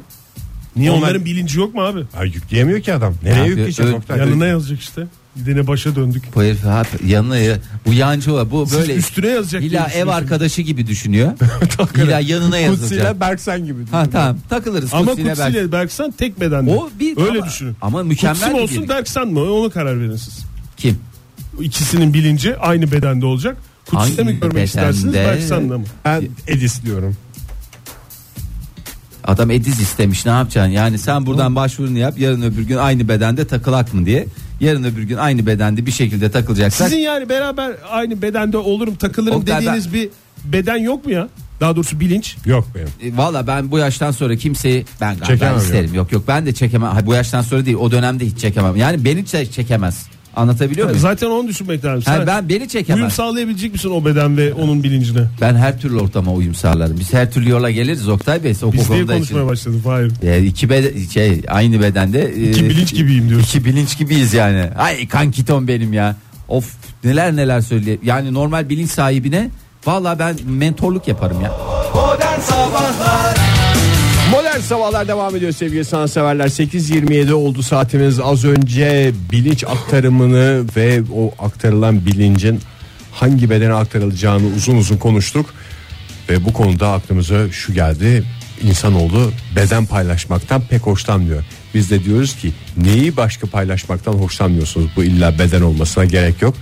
Speaker 2: Niye
Speaker 4: Onların
Speaker 2: onlar-
Speaker 4: bilinci yok mu abi?
Speaker 2: Ya yükleyemiyor ki adam. Nereye
Speaker 3: Ya,
Speaker 2: yükleyecek?
Speaker 3: ö-
Speaker 2: Oktay?
Speaker 4: Yanına yazacak işte. Yine başa döndük.
Speaker 3: Bu herif hep yanına ya- bu yancı var. Bu
Speaker 4: Siz
Speaker 3: böyle
Speaker 4: üstüne yazacak. diye
Speaker 3: illa ev
Speaker 4: düşünüyorsunuz.
Speaker 3: arkadaşı gibi düşünüyor. illa yanına yazacak.
Speaker 2: Kutsi'yle Berksen gibi.
Speaker 3: Ha tamam takılırız.
Speaker 4: Ama
Speaker 3: Kutsi'yle
Speaker 4: Kutsi ile Berksan tek bedende.
Speaker 3: O bir
Speaker 4: Öyle
Speaker 3: ama-
Speaker 4: düşünün.
Speaker 3: Ama mükemmel
Speaker 4: Kutsi mi
Speaker 3: bir
Speaker 4: olsun
Speaker 3: birlik.
Speaker 4: Berksan mı? Ona karar verin siz.
Speaker 3: Kim?
Speaker 4: İkisinin bilinci aynı bedende olacak. Kutsi'de
Speaker 3: Hangi
Speaker 4: mi görmek
Speaker 3: bedende?
Speaker 4: istersiniz Berksan'la mı?
Speaker 2: Ben Edis diyorum.
Speaker 3: Adam ediz istemiş ne yapacaksın? Yani sen buradan başvurunu yap yarın öbür gün aynı bedende takılak mı diye. Yarın öbür gün aynı bedende bir şekilde takılacaksak.
Speaker 4: Sizin yani beraber aynı bedende olurum takılırım
Speaker 3: Oktay,
Speaker 4: dediğiniz bir beden yok mu ya? Daha doğrusu bilinç.
Speaker 2: Yok benim.
Speaker 3: E, Valla ben bu yaştan sonra kimseyi ben galiba
Speaker 2: Çekemem
Speaker 3: isterim. Yok yok ben de çekemem. Hayır, bu yaştan sonra değil o dönemde hiç çekemem. Yani beni çe- çekemez. Anlatabiliyor muyum?
Speaker 4: Zaten onu düşünmek lazım.
Speaker 3: Ha,
Speaker 4: Sen
Speaker 3: ben beni
Speaker 4: uyum
Speaker 3: çekemez.
Speaker 4: sağlayabilecek misin o beden ve onun bilincine?
Speaker 3: Ben her türlü ortama uyum sağlarım. Biz her türlü yola geliriz Oktay Bey. O
Speaker 4: Biz niye
Speaker 3: konuda
Speaker 4: konuşmaya
Speaker 3: için.
Speaker 4: başladık? Hayır.
Speaker 3: E, iki bede- şey, aynı bedende e,
Speaker 4: İki bilinç gibiyim diyorsun.
Speaker 3: iki bilinç gibiyiz yani. Ay kankiton benim ya. Of neler neler söyle. Yani normal bilinç sahibine valla ben mentorluk yaparım ya.
Speaker 2: Modern sabahlar devam ediyor sevgili sanatseverler. 8.27 oldu saatimiz. Az önce bilinç aktarımını ve o aktarılan bilincin hangi bedene aktarılacağını uzun uzun konuştuk. Ve bu konuda aklımıza şu geldi. İnsanoğlu beden paylaşmaktan pek hoşlanmıyor. Biz de diyoruz ki neyi başka paylaşmaktan hoşlanmıyorsunuz? Bu illa beden olmasına gerek yok.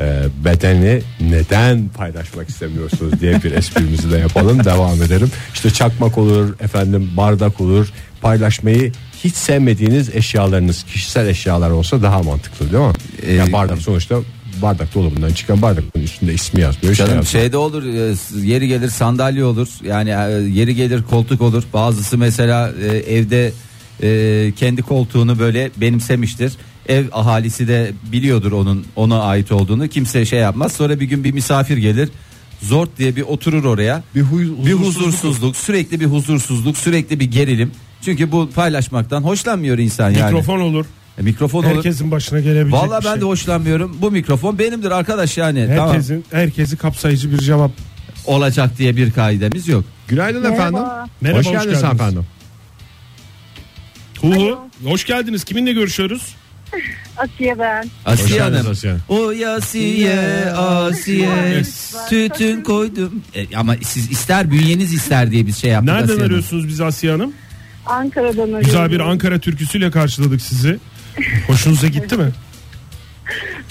Speaker 2: Ee, bedeni neden paylaşmak istemiyorsunuz diye bir esprimizi de yapalım devam edelim. İşte çakmak olur efendim bardak olur paylaşmayı hiç sevmediğiniz eşyalarınız kişisel eşyalar olsa daha mantıklı değil mi? yani
Speaker 3: Ee,
Speaker 2: bardak sonuçta bardak dolabından çıkan bardak bunun üstünde ismi yazmıyor. şey
Speaker 3: Canım
Speaker 2: yazmıyor.
Speaker 3: şeyde olur e, s- yeri gelir sandalye olur yani e, yeri gelir koltuk olur bazısı mesela e, evde e, kendi koltuğunu böyle benimsemiştir ev ahalisi de biliyordur onun ona ait olduğunu kimse şey yapmaz sonra bir gün bir misafir gelir zort diye bir oturur oraya
Speaker 2: Bir huy-
Speaker 3: bir huzursuzluk sürekli bir huzursuzluk sürekli bir gerilim çünkü bu paylaşmaktan hoşlanmıyor insan yani
Speaker 4: Mikrofon olur.
Speaker 3: E, mikrofon olur.
Speaker 4: Herkesin başına gelebilecek
Speaker 3: Vallahi
Speaker 4: bir
Speaker 3: ben
Speaker 4: şey.
Speaker 3: de hoşlanmıyorum. Bu mikrofon benimdir arkadaş yani. Tamam.
Speaker 4: Herkesin herkesi kapsayıcı bir cevap.
Speaker 3: Olacak diye bir kaidemiz yok.
Speaker 2: Günaydın
Speaker 5: Merhaba.
Speaker 2: efendim.
Speaker 4: Merhaba,
Speaker 2: şey- hoş
Speaker 4: hoş
Speaker 2: geldiniz
Speaker 4: geldiniz.
Speaker 2: efendim.
Speaker 4: Tuğhu hoş geldiniz. Kiminle görüşüyoruz?
Speaker 5: Asiye ben.
Speaker 3: Asiye
Speaker 2: geldiniz
Speaker 3: Hanım.
Speaker 2: Asiye.
Speaker 3: O Asiye, Asiye, tütün koydum. E, ama siz ister bünyeniz ister diye bir şey yaptık.
Speaker 4: Nereden
Speaker 3: Asiye Hanım.
Speaker 4: arıyorsunuz bizi Asiye Hanım?
Speaker 5: Ankara'dan arıyorum.
Speaker 4: Güzel bir Ankara türküsüyle karşıladık sizi. Hoşunuza gitti mi?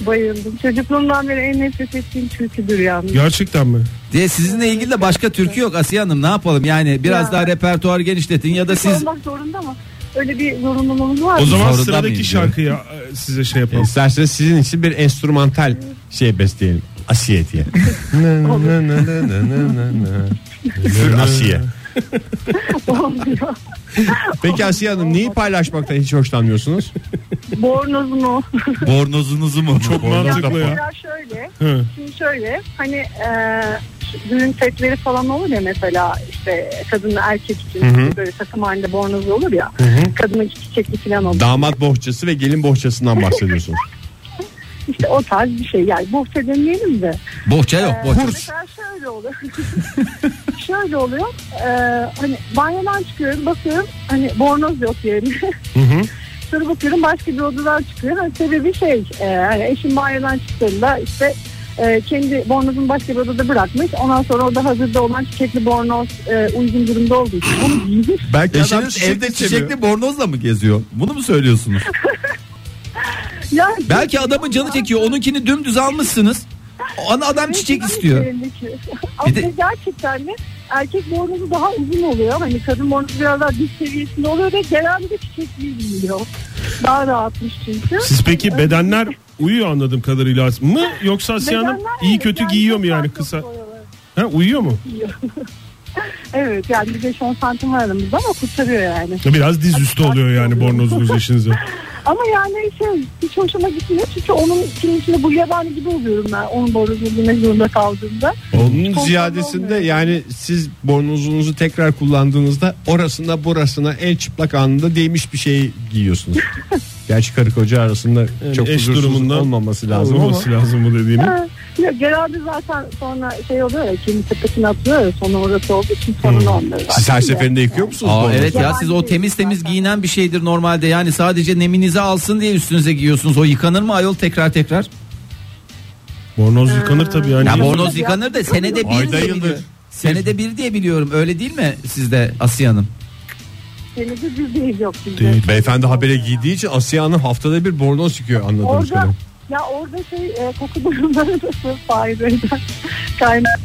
Speaker 5: Bayıldım. Çocukluğumdan beri en nefret ettiğim türküdür yalnız.
Speaker 4: Gerçekten mi?
Speaker 3: Diye sizinle ilgili de başka türkü yok Asiye Hanım. Ne yapalım yani biraz
Speaker 5: Ya.
Speaker 3: daha repertuar genişletin ya da siz
Speaker 5: Olmak zorunda mı? Öyle bir zorunluluğumuz var
Speaker 4: O
Speaker 5: mı?
Speaker 4: zaman
Speaker 3: Zorunda
Speaker 4: sıradaki
Speaker 3: mıyız
Speaker 4: şarkıyı e, size şey yapalım.
Speaker 2: İsterseniz Ee, sizin için bir enstrümantal şey besleyelim. Asiye diye. Sür Asiye.
Speaker 5: Olmuyor.
Speaker 2: Peki Asiye Hanım neyi paylaşmaktan hiç hoşlanmıyorsunuz?
Speaker 5: Bornoz mu?
Speaker 3: bornozunuzu mu?
Speaker 4: Çok
Speaker 5: Ya
Speaker 4: mantıklı ya.
Speaker 5: mesela şöyle.
Speaker 4: Hı.
Speaker 5: Şimdi şöyle hani e, şu düğün setleri falan olur ya mesela işte kadın erkek için böyle takım halinde bornoz olur ya. Kadına iki çiçekli falan olur.
Speaker 2: Damat bohçası ve gelin bohçasından bahsediyorsunuz.
Speaker 5: İşte o tarz bir şey yani bohça demeyelim de.
Speaker 3: Bohça yok bohça.
Speaker 5: Ee, Mesela şöyle oluyor. şöyle oluyor. E, hani banyodan çıkıyorum bakıyorum hani bornoz yok yerine. Sonra bakıyorum başka bir odadan çıkıyor. Hani sebebi şey e, hani eşim banyodan çıktığında işte e, kendi bornozunu başka bir odada bırakmış. Ondan sonra orada hazırda olan çiçekli bornoz e, uygun durumda olduğu için onu giymiş.
Speaker 2: Belki adam
Speaker 3: Eşiniz
Speaker 2: çiçek
Speaker 3: evde
Speaker 2: istemiyor.
Speaker 3: çiçekli bornozla mı geziyor? Bunu mu söylüyorsunuz?
Speaker 5: Yani,
Speaker 3: Belki adamın canı çekiyor. Onunkini dümdüz almışsınız. Ana adam çiçek istiyor.
Speaker 5: Ama
Speaker 3: de-
Speaker 5: gerçekten de erkek bornozu daha uzun oluyor. Hani kadın bornozu biraz daha diz seviyesinde oluyor ve genelde çiçekli giyiliyor. Daha rahatmış çünkü.
Speaker 4: Siz peki bedenler uyuyor anladığım kadarıyla mı yoksa Asiye Hanım
Speaker 5: Bedenler
Speaker 4: iyi
Speaker 5: evet,
Speaker 4: kötü
Speaker 5: yani
Speaker 4: giyiyor mu
Speaker 5: çok
Speaker 4: yani
Speaker 5: farklı
Speaker 4: kısa?
Speaker 5: oluyorlar.
Speaker 4: Ha, uyuyor mu?
Speaker 5: Evet yani bir de 10 santim var aramızda ama kurtarıyor yani.
Speaker 4: Biraz diz üstü oluyor yani bornozunuz eşinize.
Speaker 5: Ama yani şey hiç hoşuma gitmiyor çünkü onun içinin içinde bu yabani gibi oluyorum ben onun bornozu bilmek zorunda kaldığımda.
Speaker 2: Onun
Speaker 5: Kontrol
Speaker 2: ziyadesinde
Speaker 5: olmuyor.
Speaker 2: yani siz bornozunuzu tekrar kullandığınızda orasına burasına en çıplak anında değmiş bir şey giyiyorsunuz. Gerçi karı koca arasında çok
Speaker 4: eş
Speaker 2: huzursuz
Speaker 4: durumundan
Speaker 2: olmaması lazım
Speaker 4: Lazım
Speaker 2: ama.
Speaker 4: olması lazım bu dediğimi.
Speaker 5: Ha, Yok, genelde zaten sonra şey oluyor ya kimi tepesine atıyor ya sonra orası olduğu için sorun
Speaker 4: Hmm.
Speaker 5: olmuyor.
Speaker 2: Siz her
Speaker 5: zaten de.
Speaker 2: seferinde yıkıyor musunuz?
Speaker 3: Aa,
Speaker 2: bornozu?
Speaker 3: evet ya siz o temiz temiz giyinen bir şeydir normalde. Yani sadece neminizi alsın diye üstünüze giyiyorsunuz. O yıkanır mı ayol tekrar tekrar?
Speaker 4: Bornoz yıkanır tabii yani.
Speaker 3: Ya bornoz yıkanır da senede bir
Speaker 2: Ayda
Speaker 3: diye
Speaker 2: yıldır.
Speaker 3: biliyorum. Senede bir diye biliyorum. Öyle değil mi sizde Asiye Hanım?
Speaker 5: Temizde düz değil yok bizde.
Speaker 2: Beyefendi habere giydiği için Asiye Hanım haftada bir bornoz yıkıyor anladığım
Speaker 5: Orada
Speaker 2: kadarıyla.
Speaker 5: ya orada şey e, koku durumları da sırf faizden kaynak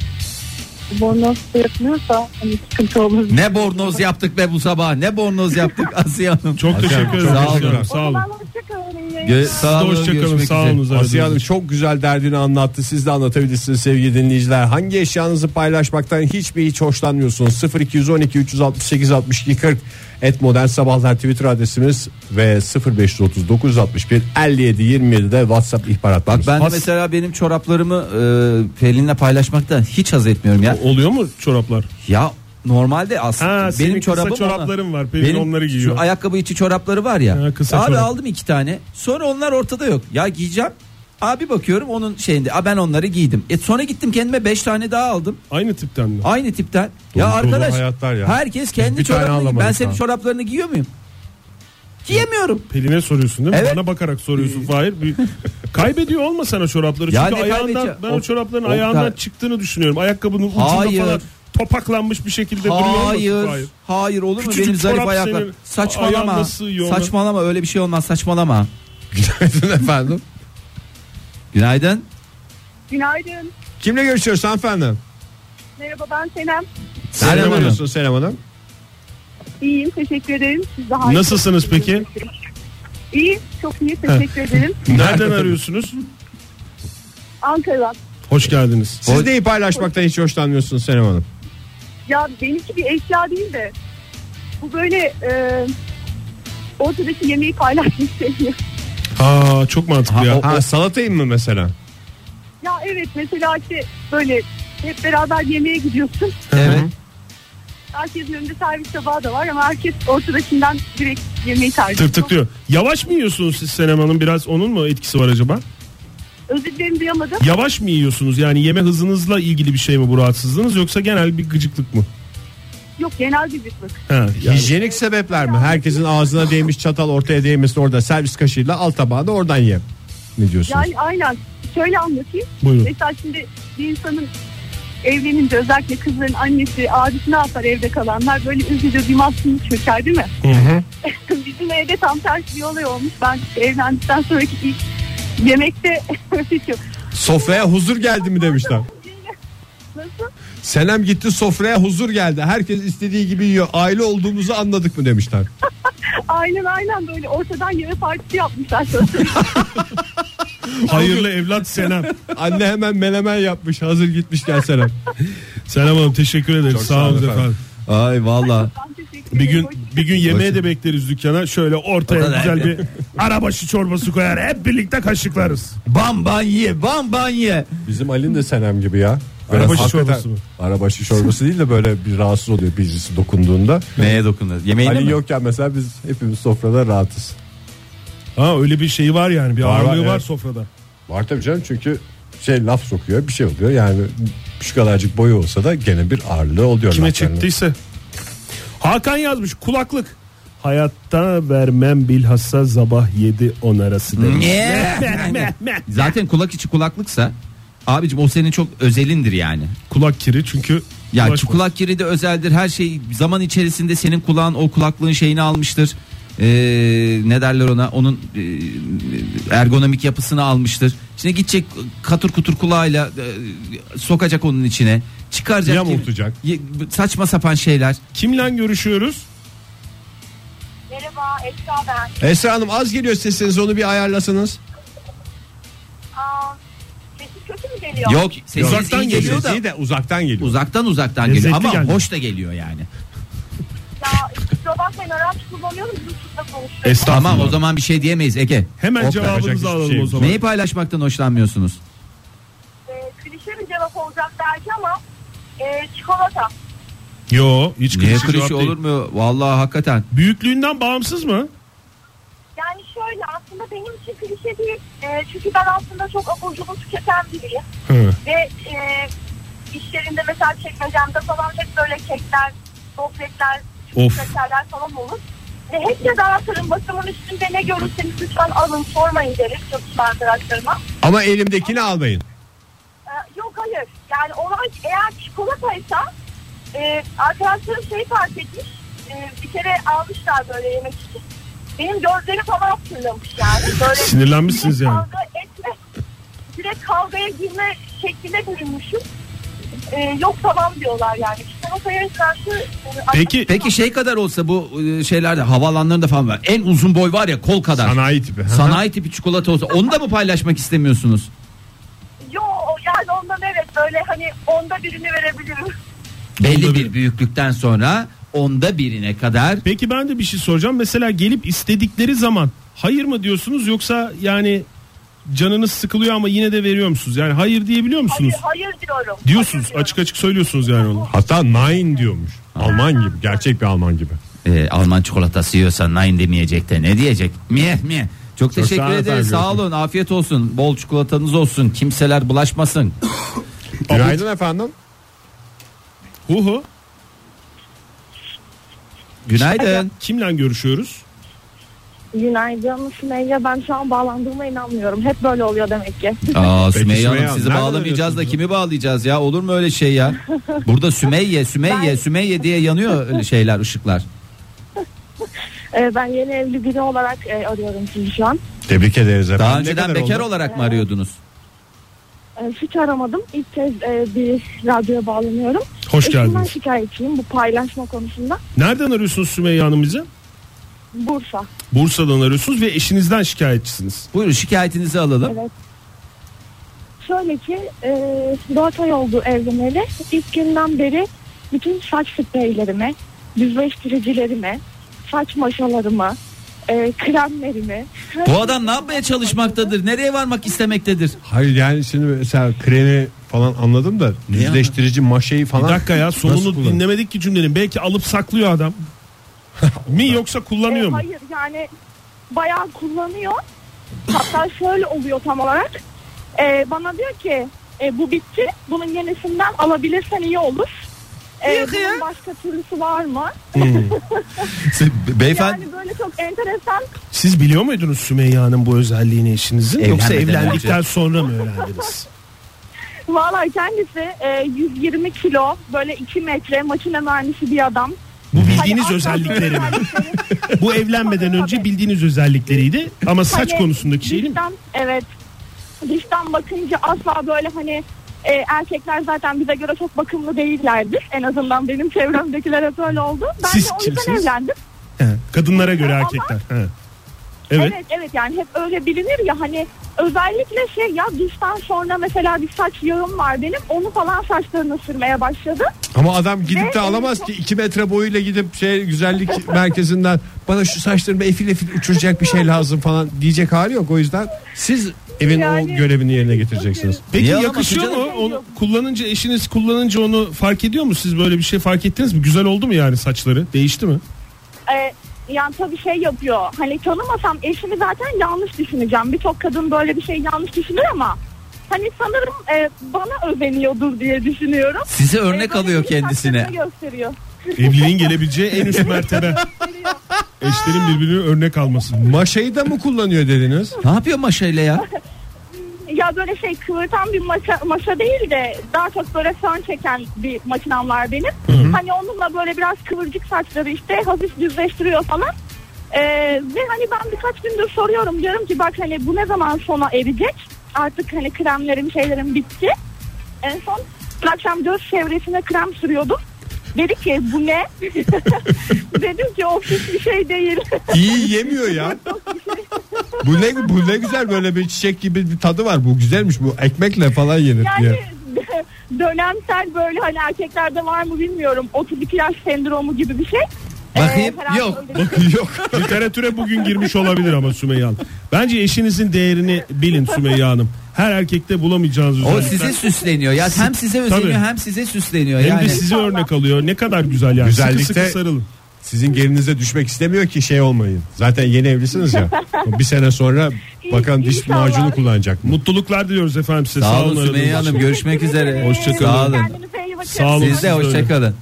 Speaker 5: bornoz yapmıyorsa hani sıkıntı olur.
Speaker 3: Ne bornoz yaptık be bu sabah. Ne bornoz yaptık Asiye Hanım.
Speaker 4: Çok teşekkür ederim.
Speaker 3: Sağ olun.
Speaker 4: Sağ
Speaker 5: O
Speaker 4: olun.
Speaker 5: zaman hoşçakalın. iyi
Speaker 3: Gö-
Speaker 4: Siz
Speaker 3: sağ
Speaker 4: de
Speaker 3: olun,
Speaker 4: hoşçakalın.
Speaker 3: görüşmek
Speaker 4: Sağ
Speaker 3: üzere.
Speaker 4: olun.
Speaker 2: Asiye Hanım çok güzel derdini anlattı. Siz de anlatabilirsiniz sevgili dinleyiciler. Hangi eşyanızı paylaşmaktan hiç mi hiç hoşlanmıyorsunuz? 0212 368 62 40 et modern sabahlar Twitter adresimiz ve 0530 961 57 27'de WhatsApp ihbar
Speaker 3: Bak
Speaker 2: hattımız.
Speaker 3: ben de mesela benim çoraplarımı e, Pelin'le paylaşmaktan hiç haz etmiyorum ya.
Speaker 4: Oluyor mu çoraplar?
Speaker 3: Ya normalde aslında
Speaker 4: Ha,
Speaker 3: benim
Speaker 4: senin kısa
Speaker 3: çorabım
Speaker 4: çorapların var. Pelin onları giyiyor.
Speaker 3: Şu ayakkabı içi çorapları var ya.
Speaker 4: Ha, kısa
Speaker 3: abi
Speaker 4: çorap.
Speaker 3: aldım iki tane. Sonra onlar ortada yok. Ya giyeceğim. Abi bakıyorum onun şeyinde. A ben onları giydim. E sonra gittim kendime beş tane daha aldım.
Speaker 4: Aynı tipten mi?
Speaker 3: Aynı tipten. ya
Speaker 2: dolu
Speaker 3: arkadaş
Speaker 2: hayatlar ya.
Speaker 3: herkes kendi
Speaker 2: bir tane
Speaker 3: çorabını giy-
Speaker 2: alamadık
Speaker 3: Ben
Speaker 2: ha.
Speaker 3: senin çoraplarını giyiyor muyum? Giyemiyorum.
Speaker 4: Pelin'e soruyorsun değil mi?
Speaker 3: Evet. Ee,
Speaker 4: Bana bakarak soruyorsun Fahir. Bir... Kaybediyor olma sana çorapları.
Speaker 3: Ya
Speaker 4: Çünkü
Speaker 3: ne
Speaker 4: ayağından,
Speaker 3: kaybedeceğim?
Speaker 4: ben o çorapların
Speaker 3: O-
Speaker 4: ayağından
Speaker 3: o-
Speaker 4: çıktığını düşünüyorum. Ayakkabının ucunda
Speaker 3: Hayır.
Speaker 4: falan topaklanmış bir şekilde duruyor
Speaker 3: Hayır.
Speaker 4: olmasın Fahir.
Speaker 3: Hayır olur mu
Speaker 4: Küçücük
Speaker 3: benim zarif
Speaker 4: çorap
Speaker 3: ayaklar?
Speaker 4: senin
Speaker 3: Saçmalama.
Speaker 4: ayağına sığıyor ona.
Speaker 3: Saçmalama öyle bir şey olmaz saçmalama.
Speaker 2: Günaydın efendim.
Speaker 3: Günaydın.
Speaker 5: Günaydın.
Speaker 2: Kimle görüşüyoruz hanımefendi?
Speaker 5: Merhaba ben Senem.
Speaker 2: Nereden
Speaker 4: Hanım.
Speaker 2: arıyorsun Selam Hanım?
Speaker 5: İyiyim teşekkür ederim. Siz daha iyi.
Speaker 4: Nasılsınız peki?
Speaker 5: İyi çok iyi teşekkür ederim.
Speaker 4: Nereden arıyorsunuz?
Speaker 5: Ankara'dan.
Speaker 4: Hoş geldiniz.
Speaker 2: Siz neyi paylaşmaktan hiç hoşlanmıyorsunuz Selam Hanım?
Speaker 5: Ya benimki bir eşya değil de bu böyle e, ortadaki yemeği paylaşmış şey. seviyor.
Speaker 4: Ha çok mantıklı
Speaker 3: Ha,
Speaker 4: ya.
Speaker 3: o-
Speaker 2: Ha, salatayım mı mesela?
Speaker 5: Ya evet mesela işte böyle hep beraber yemeğe gidiyorsun.
Speaker 3: Evet.
Speaker 5: Herkesin önünde servis tabağı da var ama herkes ortadakinden direkt yemeği tercih ediyor.
Speaker 4: Tırtık diyor. Yavaş mı yiyorsunuz siz Senem Hanım? Biraz onun mu etkisi var acaba?
Speaker 5: Özür dilerim duyamadım.
Speaker 4: Yavaş mı yiyorsunuz? Yani yeme hızınızla ilgili bir şey mi bu rahatsızlığınız yoksa genel bir gıcıklık mı?
Speaker 5: Yok genel bir zıtlık.
Speaker 4: Ha, yani.
Speaker 2: Hijyenik sebepler mi? Herkesin ağzına değmiş çatal ortaya değmesin orada servis kaşığıyla al tabağını oradan ye. Ne diyorsunuz?
Speaker 5: Yani aynen şöyle anlatayım.
Speaker 4: Buyurun.
Speaker 5: Mesela şimdi bir insanın evlenince özellikle kızların annesi abisi ne yapar evde kalanlar böyle üzücü bir mahzunluk çöker değil mi? Bizim evde tam tersi bir olay olmuş. Ben evlendikten sonraki ilk yemekte hiç yok.
Speaker 2: Sofraya huzur geldi mi demişler.
Speaker 5: Nasıl?
Speaker 2: Senem gitti sofraya huzur geldi. Herkes istediği gibi yiyor. Aile olduğumuzu anladık mı demişler.
Speaker 5: Aynen aynen böyle ortadan yeme partisi yapmışlar.
Speaker 4: Hayırlı evlat Senem.
Speaker 2: Anne hemen menemen yapmış. Hazır gitmişken Senem.
Speaker 4: Senem Hanım teşekkür ederiz. Sağ olun efendim.
Speaker 3: Ay valla.
Speaker 5: Ben teşekkür
Speaker 4: Bir gün
Speaker 5: ederim.
Speaker 4: bir gün yemeğe de bekleriz dükkana. Şöyle ortaya
Speaker 3: Orada
Speaker 4: güzel
Speaker 3: da-
Speaker 4: bir arabaşı çorbası koyar. Hep birlikte kaşıklarız.
Speaker 3: Bam ban ye bam ban ye.
Speaker 2: Bizim Ali'nin de Senem gibi ya.
Speaker 4: Arabaşı
Speaker 2: hakikaten-
Speaker 4: çorbası mı?
Speaker 2: Arabaşı çorbası değil de böyle bir rahatsız oluyor birisi dokunduğunda.
Speaker 3: Neye dokundun? Yemeğine
Speaker 2: Ali
Speaker 3: mi?
Speaker 2: yokken mesela biz hepimiz sofrada rahatız.
Speaker 4: Ha öyle bir şey var yani. Bir
Speaker 2: Var,
Speaker 4: ağırlığı
Speaker 2: var,
Speaker 4: var,
Speaker 2: evet.
Speaker 4: sofrada.
Speaker 2: Var tabii canım çünkü şey laf sokuyor bir şey oluyor yani şu kadarcık boyu olsa da gene bir ağırlığı oluyor.
Speaker 4: Kime
Speaker 2: laflarının.
Speaker 4: çektiyse. Hakan yazmış kulaklık. Hayatta vermem bilhassa sabah 7-10 arası demiş.
Speaker 3: Ne?
Speaker 4: Meh, meh.
Speaker 3: Zaten kulak içi kulaklıksa abicim o senin çok özelindir yani.
Speaker 4: Kulak kiri çünkü
Speaker 3: Ya
Speaker 4: kulak-
Speaker 3: kulak, kiri de özeldir. Her şey zaman içerisinde senin kulağın o kulaklığın şeyini almıştır. Ee, ne derler ona? Onun e, ergonomik yapısını almıştır. Şimdi gidecek katır kutur kulağıyla e, sokacak onun içine. Çıkaracak.
Speaker 2: Yamultacak.
Speaker 3: Ye- Saçma sapan şeyler.
Speaker 4: Kimle görüşüyoruz?
Speaker 5: Merhaba Esra ben.
Speaker 2: Esra Hanım az geliyor sesiniz onu bir ayarlasanız.
Speaker 5: Aa, sesi kötü mü geliyor?
Speaker 3: Yok, sesiniz iyi geliyor da
Speaker 2: Sesi de uzaktan geliyor.
Speaker 3: uzaktan uzaktan
Speaker 4: Lezzetli
Speaker 3: geliyor ama
Speaker 4: geldi.
Speaker 3: hoş da geliyor yani.
Speaker 5: Ya kusura bakmayın araç kullanıyorum. Bluetooth'la
Speaker 4: Estağfurullah.
Speaker 3: Tamam o zaman bir şey diyemeyiz Ege.
Speaker 4: Hemen
Speaker 3: Hop,
Speaker 4: cevabınızı
Speaker 3: yapacak hiçbir
Speaker 4: alalım
Speaker 3: şey
Speaker 4: o
Speaker 3: yok.
Speaker 4: zaman.
Speaker 3: Neyi paylaşmaktan hoşlanmıyorsunuz?
Speaker 5: Ee, klişe bir cevap olacak belki ama e, çikolata.
Speaker 4: Yo hiç
Speaker 3: Niye
Speaker 4: klişe şey cevap
Speaker 3: klişe
Speaker 4: değil.
Speaker 3: olur mu? Vallahi hakikaten.
Speaker 4: Büyüklüğünden bağımsız mı?
Speaker 5: Yani şöyle aslında benim için klişe değil. Ee, çünkü ben aslında çok aburcunu tüketen biriyim. Ve e, işlerinde mesela çekmecemde falan hep böyle kekler, gofretler,
Speaker 4: Of.
Speaker 5: çikolatalar falan olur. Ve hep de dağıtırım. Basımın üstünde ne görürseniz lütfen alın sormayın derim çalışma arkadaşlarıma.
Speaker 2: Ama elimdekini almayın.
Speaker 5: Ee, yok hayır. Yani olay eğer çikolataysa e, arkadaşlarım şey fark etmiş. e, bir kere almışlar böyle yemek için. Benim gözleri falan fırlamış yani. Böyle
Speaker 4: Sinirlenmişsiniz
Speaker 5: direkt
Speaker 4: yani.
Speaker 5: Kavga etme. Direkt kavgaya girme şekline bürünmüşüm. E, yok tamam diyorlar yani. Çikolataya karşı... e,
Speaker 4: Peki
Speaker 3: Peki şey kadar olsa bu e, şeylerde havaalanlarında falan var. En uzun boy var ya kol kadar.
Speaker 4: sanayi tipi.
Speaker 3: Sanayi tipi çikolata olsa onu da mı paylaşmak istemiyorsunuz?
Speaker 5: Yo yani ondan evet böyle hani onda birini verebilirim.
Speaker 3: Belli
Speaker 4: bir-
Speaker 3: bir büyüklükten sonra onda birine kadar
Speaker 4: Peki ben de bir şey soracağım. Mesela gelip istedikleri zaman hayır mı diyorsunuz yoksa yani canınız sıkılıyor ama yine de veriyor musunuz? Yani hayır diyebiliyor musunuz?
Speaker 5: Hayır, hayır diyorum.
Speaker 4: Diyorsunuz
Speaker 5: Hayır
Speaker 4: açık açık söylüyorsunuz yani onu.
Speaker 2: Hatta nine diyormuş. Alman gibi. Gerçek bir Alman gibi.
Speaker 3: e, Alman çikolatası yiyorsa nine demeyecek de ne diyecek? Miye miye. Çok
Speaker 2: sağ
Speaker 3: teşekkür
Speaker 2: olun
Speaker 3: ederiz.
Speaker 2: efendim.
Speaker 3: Sağ olun. Afiyet olsun. Bol çikolatanız olsun. Kimseler bulaşmasın.
Speaker 2: Günaydın efendim.
Speaker 4: Hu hu.
Speaker 3: Günaydın.
Speaker 4: Kimle görüşüyoruz?
Speaker 5: Günaydın Sümeyye. Ben şu an bağlandığıma inanmıyorum. Hep böyle oluyor demek ki.
Speaker 3: Aa
Speaker 2: Peki
Speaker 3: Sümeyye
Speaker 2: Sümeyye
Speaker 3: Hanım
Speaker 2: Hanım,
Speaker 3: sizi
Speaker 2: nereden
Speaker 3: bağlamayacağız da
Speaker 2: arıyorsunuz?
Speaker 3: kimi bağlayacağız ya? Olur mu öyle şey ya? Burada Sümeyye, Sümeyye, Sümeyye diye yanıyor öyle şeyler, ışıklar.
Speaker 5: Ee, ben yeni evli biri olarak e, arıyorum sizi şu an.
Speaker 2: Tebrik ederiz efendim.
Speaker 3: Daha
Speaker 2: Ne
Speaker 3: önceden
Speaker 2: kadar
Speaker 3: bekar
Speaker 2: oldu?
Speaker 3: olarak mı arıyordunuz?
Speaker 5: Ee, hiç aramadım. İlk kez e, bir radyoya bağlanıyorum.
Speaker 4: Hoş
Speaker 5: Eşimden
Speaker 4: geldiniz.
Speaker 5: şikayetçiyim bu paylaşma konusunda.
Speaker 4: Nereden arıyorsunuz Sümeyye Hanım bizi?
Speaker 5: Bursa.
Speaker 4: Bursa'dan arıyorsunuz ve eşinizden şikayetçisiniz.
Speaker 3: Buyurun şikayetinizi alalım.
Speaker 5: Evet. Şöyle ki e, 4 ay oldu evleneli. İlk günden beri bütün saç spreylerimi, düzleştiricilerimi, saç maşalarımı, e, kremlerimi.
Speaker 3: Bu adam ne yapmaya çalışmaktadır? Nereye varmak istemektedir?
Speaker 2: Hayır yani şimdi mesela kremi falan anladım da düzleştirici maşayı
Speaker 4: Bir
Speaker 2: falan.
Speaker 4: dakika ya
Speaker 2: Nasıl
Speaker 4: sonunu
Speaker 2: kullanıyor?
Speaker 4: dinlemedik ki cümlenin. Belki alıp saklıyor adam. mi yoksa kullanıyor
Speaker 5: E,
Speaker 4: mu?
Speaker 5: Hayır yani bayağı kullanıyor. Hatta şöyle oluyor tam olarak. E, bana diyor ki e, bu bitti. Bunun yenisinden alabilirsen iyi olur. E,
Speaker 3: Yok ya.
Speaker 5: bunun başka türlüsü var mı?
Speaker 3: Beyefendi
Speaker 5: Yani böyle çok enteresan
Speaker 4: Siz biliyor muydunuz Sümeyye Hanım bu özelliğini eşinizin? Yoksa
Speaker 3: Evlenmeden
Speaker 4: evlendikten sonra mı öğrendiniz?
Speaker 5: Valla kendisi e, 120 kilo böyle 2 metre makine mühendisi bir adam.
Speaker 4: Bu bildiğiniz
Speaker 5: Hani asla böyle
Speaker 4: özellikleri mi?
Speaker 5: özellikleri-
Speaker 4: Bu evlenmeden önce bildiğiniz özellikleriydi ama saç
Speaker 5: Hani
Speaker 4: konusundaki şey değil mi?
Speaker 5: dıştan- Evet. Dıştan bakınca asla böyle hani e, erkekler zaten bize göre çok bakımlı değillerdir. En azından benim çevremdekiler hep öyle oldu. Ben
Speaker 4: Siz
Speaker 5: de o yüzden
Speaker 4: kimsiniz?
Speaker 5: evlendim.
Speaker 4: He, Kadınlara göre
Speaker 5: Ama-
Speaker 4: erkekler. He.
Speaker 5: Evet.
Speaker 4: Evet.
Speaker 5: evet yani hep öyle bilinir ya hani özellikle şey ya duştan sonra mesela bir saç yağım var benim onu falan saçlarını sürmeye başladı.
Speaker 2: Ama adam gidip de
Speaker 5: Ve-
Speaker 2: alamaz ki 2 metre boyuyla gidip şey güzellik merkezinden bana şu saçlarımı efil efil uçuracak bir şey lazım falan diyecek hali yok. O yüzden siz evin o
Speaker 5: Yani-
Speaker 2: görevini yerine getireceksiniz.
Speaker 4: Peki
Speaker 3: Niye
Speaker 4: yakışıyor
Speaker 3: alamazsın
Speaker 4: mu? Onu kullanınca eşiniz kullanınca onu fark ediyor mu? Siz böyle bir şey fark ettiniz mi? Güzel oldu mu yani saçları? Değişti mi?
Speaker 5: e, yani tabii şey yapıyor. Hani tanımasam eşimi zaten yanlış düşüneceğim. Birçok kadın böyle bir şey yanlış düşünür ama hani sanırım e, bana özeniyordur diye düşünüyorum.
Speaker 3: size
Speaker 5: E,
Speaker 3: örnek
Speaker 5: böyle
Speaker 3: alıyor
Speaker 5: bir
Speaker 3: kendisine.
Speaker 5: saçlarını gösteriyor.
Speaker 4: Evliliğin gelebileceği en üst mertebe. Eşlerin birbirini örnek alması.
Speaker 2: Maşayı da mı kullanıyor dediniz?
Speaker 3: Ne yapıyor maşayla ya?
Speaker 5: Ya böyle şey kıvırtan bir maşa, maşa değil de daha çok böyle fön çeken bir makinem var benim. Hani onunla böyle biraz kıvırcık saçları işte hafif düzleştiriyor falan. E, ve hani ben birkaç gündür soruyorum diyorum ki bak hani bu ne zaman sona erecek? Artık hani kremlerim şeylerim bitti. En son dün akşam göz çevresine krem sürüyordum. Dedi ki bu ne? Dedim ki o hiçbir şey değil.
Speaker 2: İyi yemiyor ya. bu ne bu ne güzel böyle bir çiçek gibi bir tadı var. Bu güzelmiş bu ekmekle falan yenir
Speaker 5: Yani
Speaker 2: diye.
Speaker 5: dönemsel böyle hani erkeklerde var mı bilmiyorum 32 yaş sendromu gibi bir şey.
Speaker 3: Bakayım.
Speaker 5: herhalde
Speaker 3: Yok.
Speaker 5: öyle-
Speaker 4: Yok. Literatüre bugün girmiş olabilir ama Sümeyye Hanım. Bence eşinizin değerini bilin Sümeyye Hanım. Her erkekte bulamayacağınız
Speaker 3: O
Speaker 4: özellikler.
Speaker 3: sizi süsleniyor. Ya hem size özeniyor
Speaker 4: Tabii.
Speaker 3: hem size süsleniyor.
Speaker 4: Hem
Speaker 3: yani.
Speaker 4: de size örnek alıyor. Ne kadar güzel yani.
Speaker 2: Güzellikte-
Speaker 4: Sıkı sıkı sarılın.
Speaker 2: Sizin gerinize düşmek istemiyor ki şey olmayın. Zaten yeni evlisiniz ya. Bir sene sonra bakan diş
Speaker 5: İnşallah.
Speaker 2: macunu kullanacak mı?
Speaker 4: Mutluluklar diliyoruz efendim size.
Speaker 3: Sağ olun Sümeyye
Speaker 4: aradığınız
Speaker 3: Hanım.
Speaker 4: için.
Speaker 3: Görüşmek üzere.
Speaker 4: Hoşçakalın.
Speaker 3: Sağ olun.
Speaker 5: Kendinize iyi bakın.
Speaker 4: Sağ olun.
Speaker 3: Siz de
Speaker 4: Siz de öyle.
Speaker 3: hoşçakalın.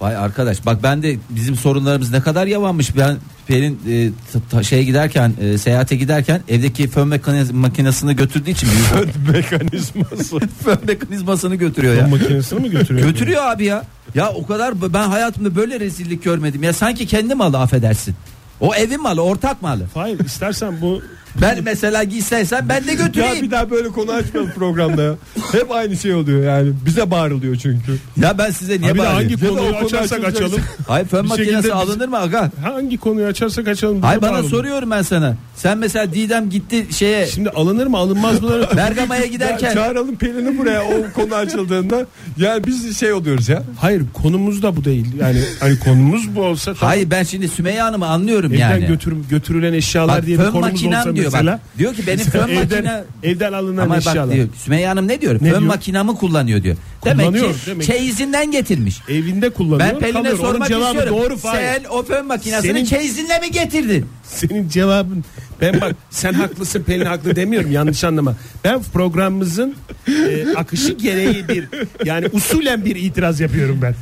Speaker 3: Vay arkadaş bak ben de bizim sorunlarımız ne kadar yavanmış. Ben Pelin e, t- ta- şeye giderken e, seyahate giderken evdeki fön mekaniz- makinesini götürdüğü için büyük-
Speaker 2: Mekanizması.
Speaker 3: fön mekanizmasını götürüyor
Speaker 4: Fön
Speaker 3: ya.
Speaker 4: makinesini mi götürüyor?
Speaker 3: Götürüyor abi ya. Ya o kadar ben hayatımda böyle rezillik görmedim. Ya sanki kendi malı affedersin. O evin malı, ortak malı.
Speaker 4: Hayır istersen bu
Speaker 3: Ben mesela giyseysen ben de
Speaker 2: ya bir
Speaker 3: götüreyim.
Speaker 2: daha böyle konu açmayalım programda ya. Hep aynı şey oluyor yani. Bize bağırılıyor çünkü.
Speaker 3: Ya ben size niye
Speaker 4: Abi de
Speaker 3: bağırayım?
Speaker 4: hangi
Speaker 2: Ya da o
Speaker 4: konuyu
Speaker 2: konu
Speaker 4: açarsak
Speaker 2: açılacak.
Speaker 4: açalım.
Speaker 3: Hayır fön
Speaker 4: Bir
Speaker 3: makinesi
Speaker 4: şekilde biz-
Speaker 3: alınır mı aga?
Speaker 4: Hangi konuyu açarsak açalım. bize
Speaker 3: Hayır bana
Speaker 4: bağlı.
Speaker 3: soruyorum ben sana. Sen mesela Didem gitti şeye
Speaker 4: Şimdi şey alınır mı alınmaz mı?
Speaker 3: Bergama'ya giderken
Speaker 2: Ya çağıralım Pelin'i buraya o konu açıldığında. Yani biz şey oluyoruz ya.
Speaker 4: Hayır konumuz da bu değil. Yani hani konumuz bu olsa tamam.
Speaker 3: Hayır ben şimdi Sümeyye Hanım'ı anlıyorum
Speaker 4: Evden
Speaker 3: yani.
Speaker 4: götürüm, götürülen eşyalar
Speaker 3: Bak
Speaker 4: diye bir
Speaker 3: fön
Speaker 4: konumuz olsa
Speaker 3: makinem diyor
Speaker 4: mesela.
Speaker 3: bak. Diyor ki benim fön
Speaker 4: evden,
Speaker 3: makine
Speaker 4: evden alınan
Speaker 3: ama
Speaker 4: eşyalar.
Speaker 3: bak diyor Sümeyye Hanım ne diyor?
Speaker 4: Ne
Speaker 3: fön
Speaker 4: diyor?
Speaker 3: makinamı kullanıyor diyor. Demek ki
Speaker 4: Kullanıyor, demek ki.
Speaker 3: çeyizinden getirmiş.
Speaker 4: Evinde kullanıyor.
Speaker 3: Ben Pelin'e
Speaker 4: kalıyor. Onun
Speaker 3: sormak
Speaker 4: cevabı
Speaker 3: istiyorum.
Speaker 4: Doğru Fahir.
Speaker 3: Sen o fön makinesini
Speaker 4: Senin-
Speaker 3: çeyizinle mi getirdin?
Speaker 4: Senin cevabın ben bak sen haklısın Pelin haklı demiyorum yanlış anlama. Ben programımızın e, akışı gereği bir yani usulen bir itiraz yapıyorum ben.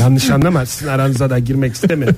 Speaker 4: Yanlış anlama sizin aranıza da girmek istemiyorum.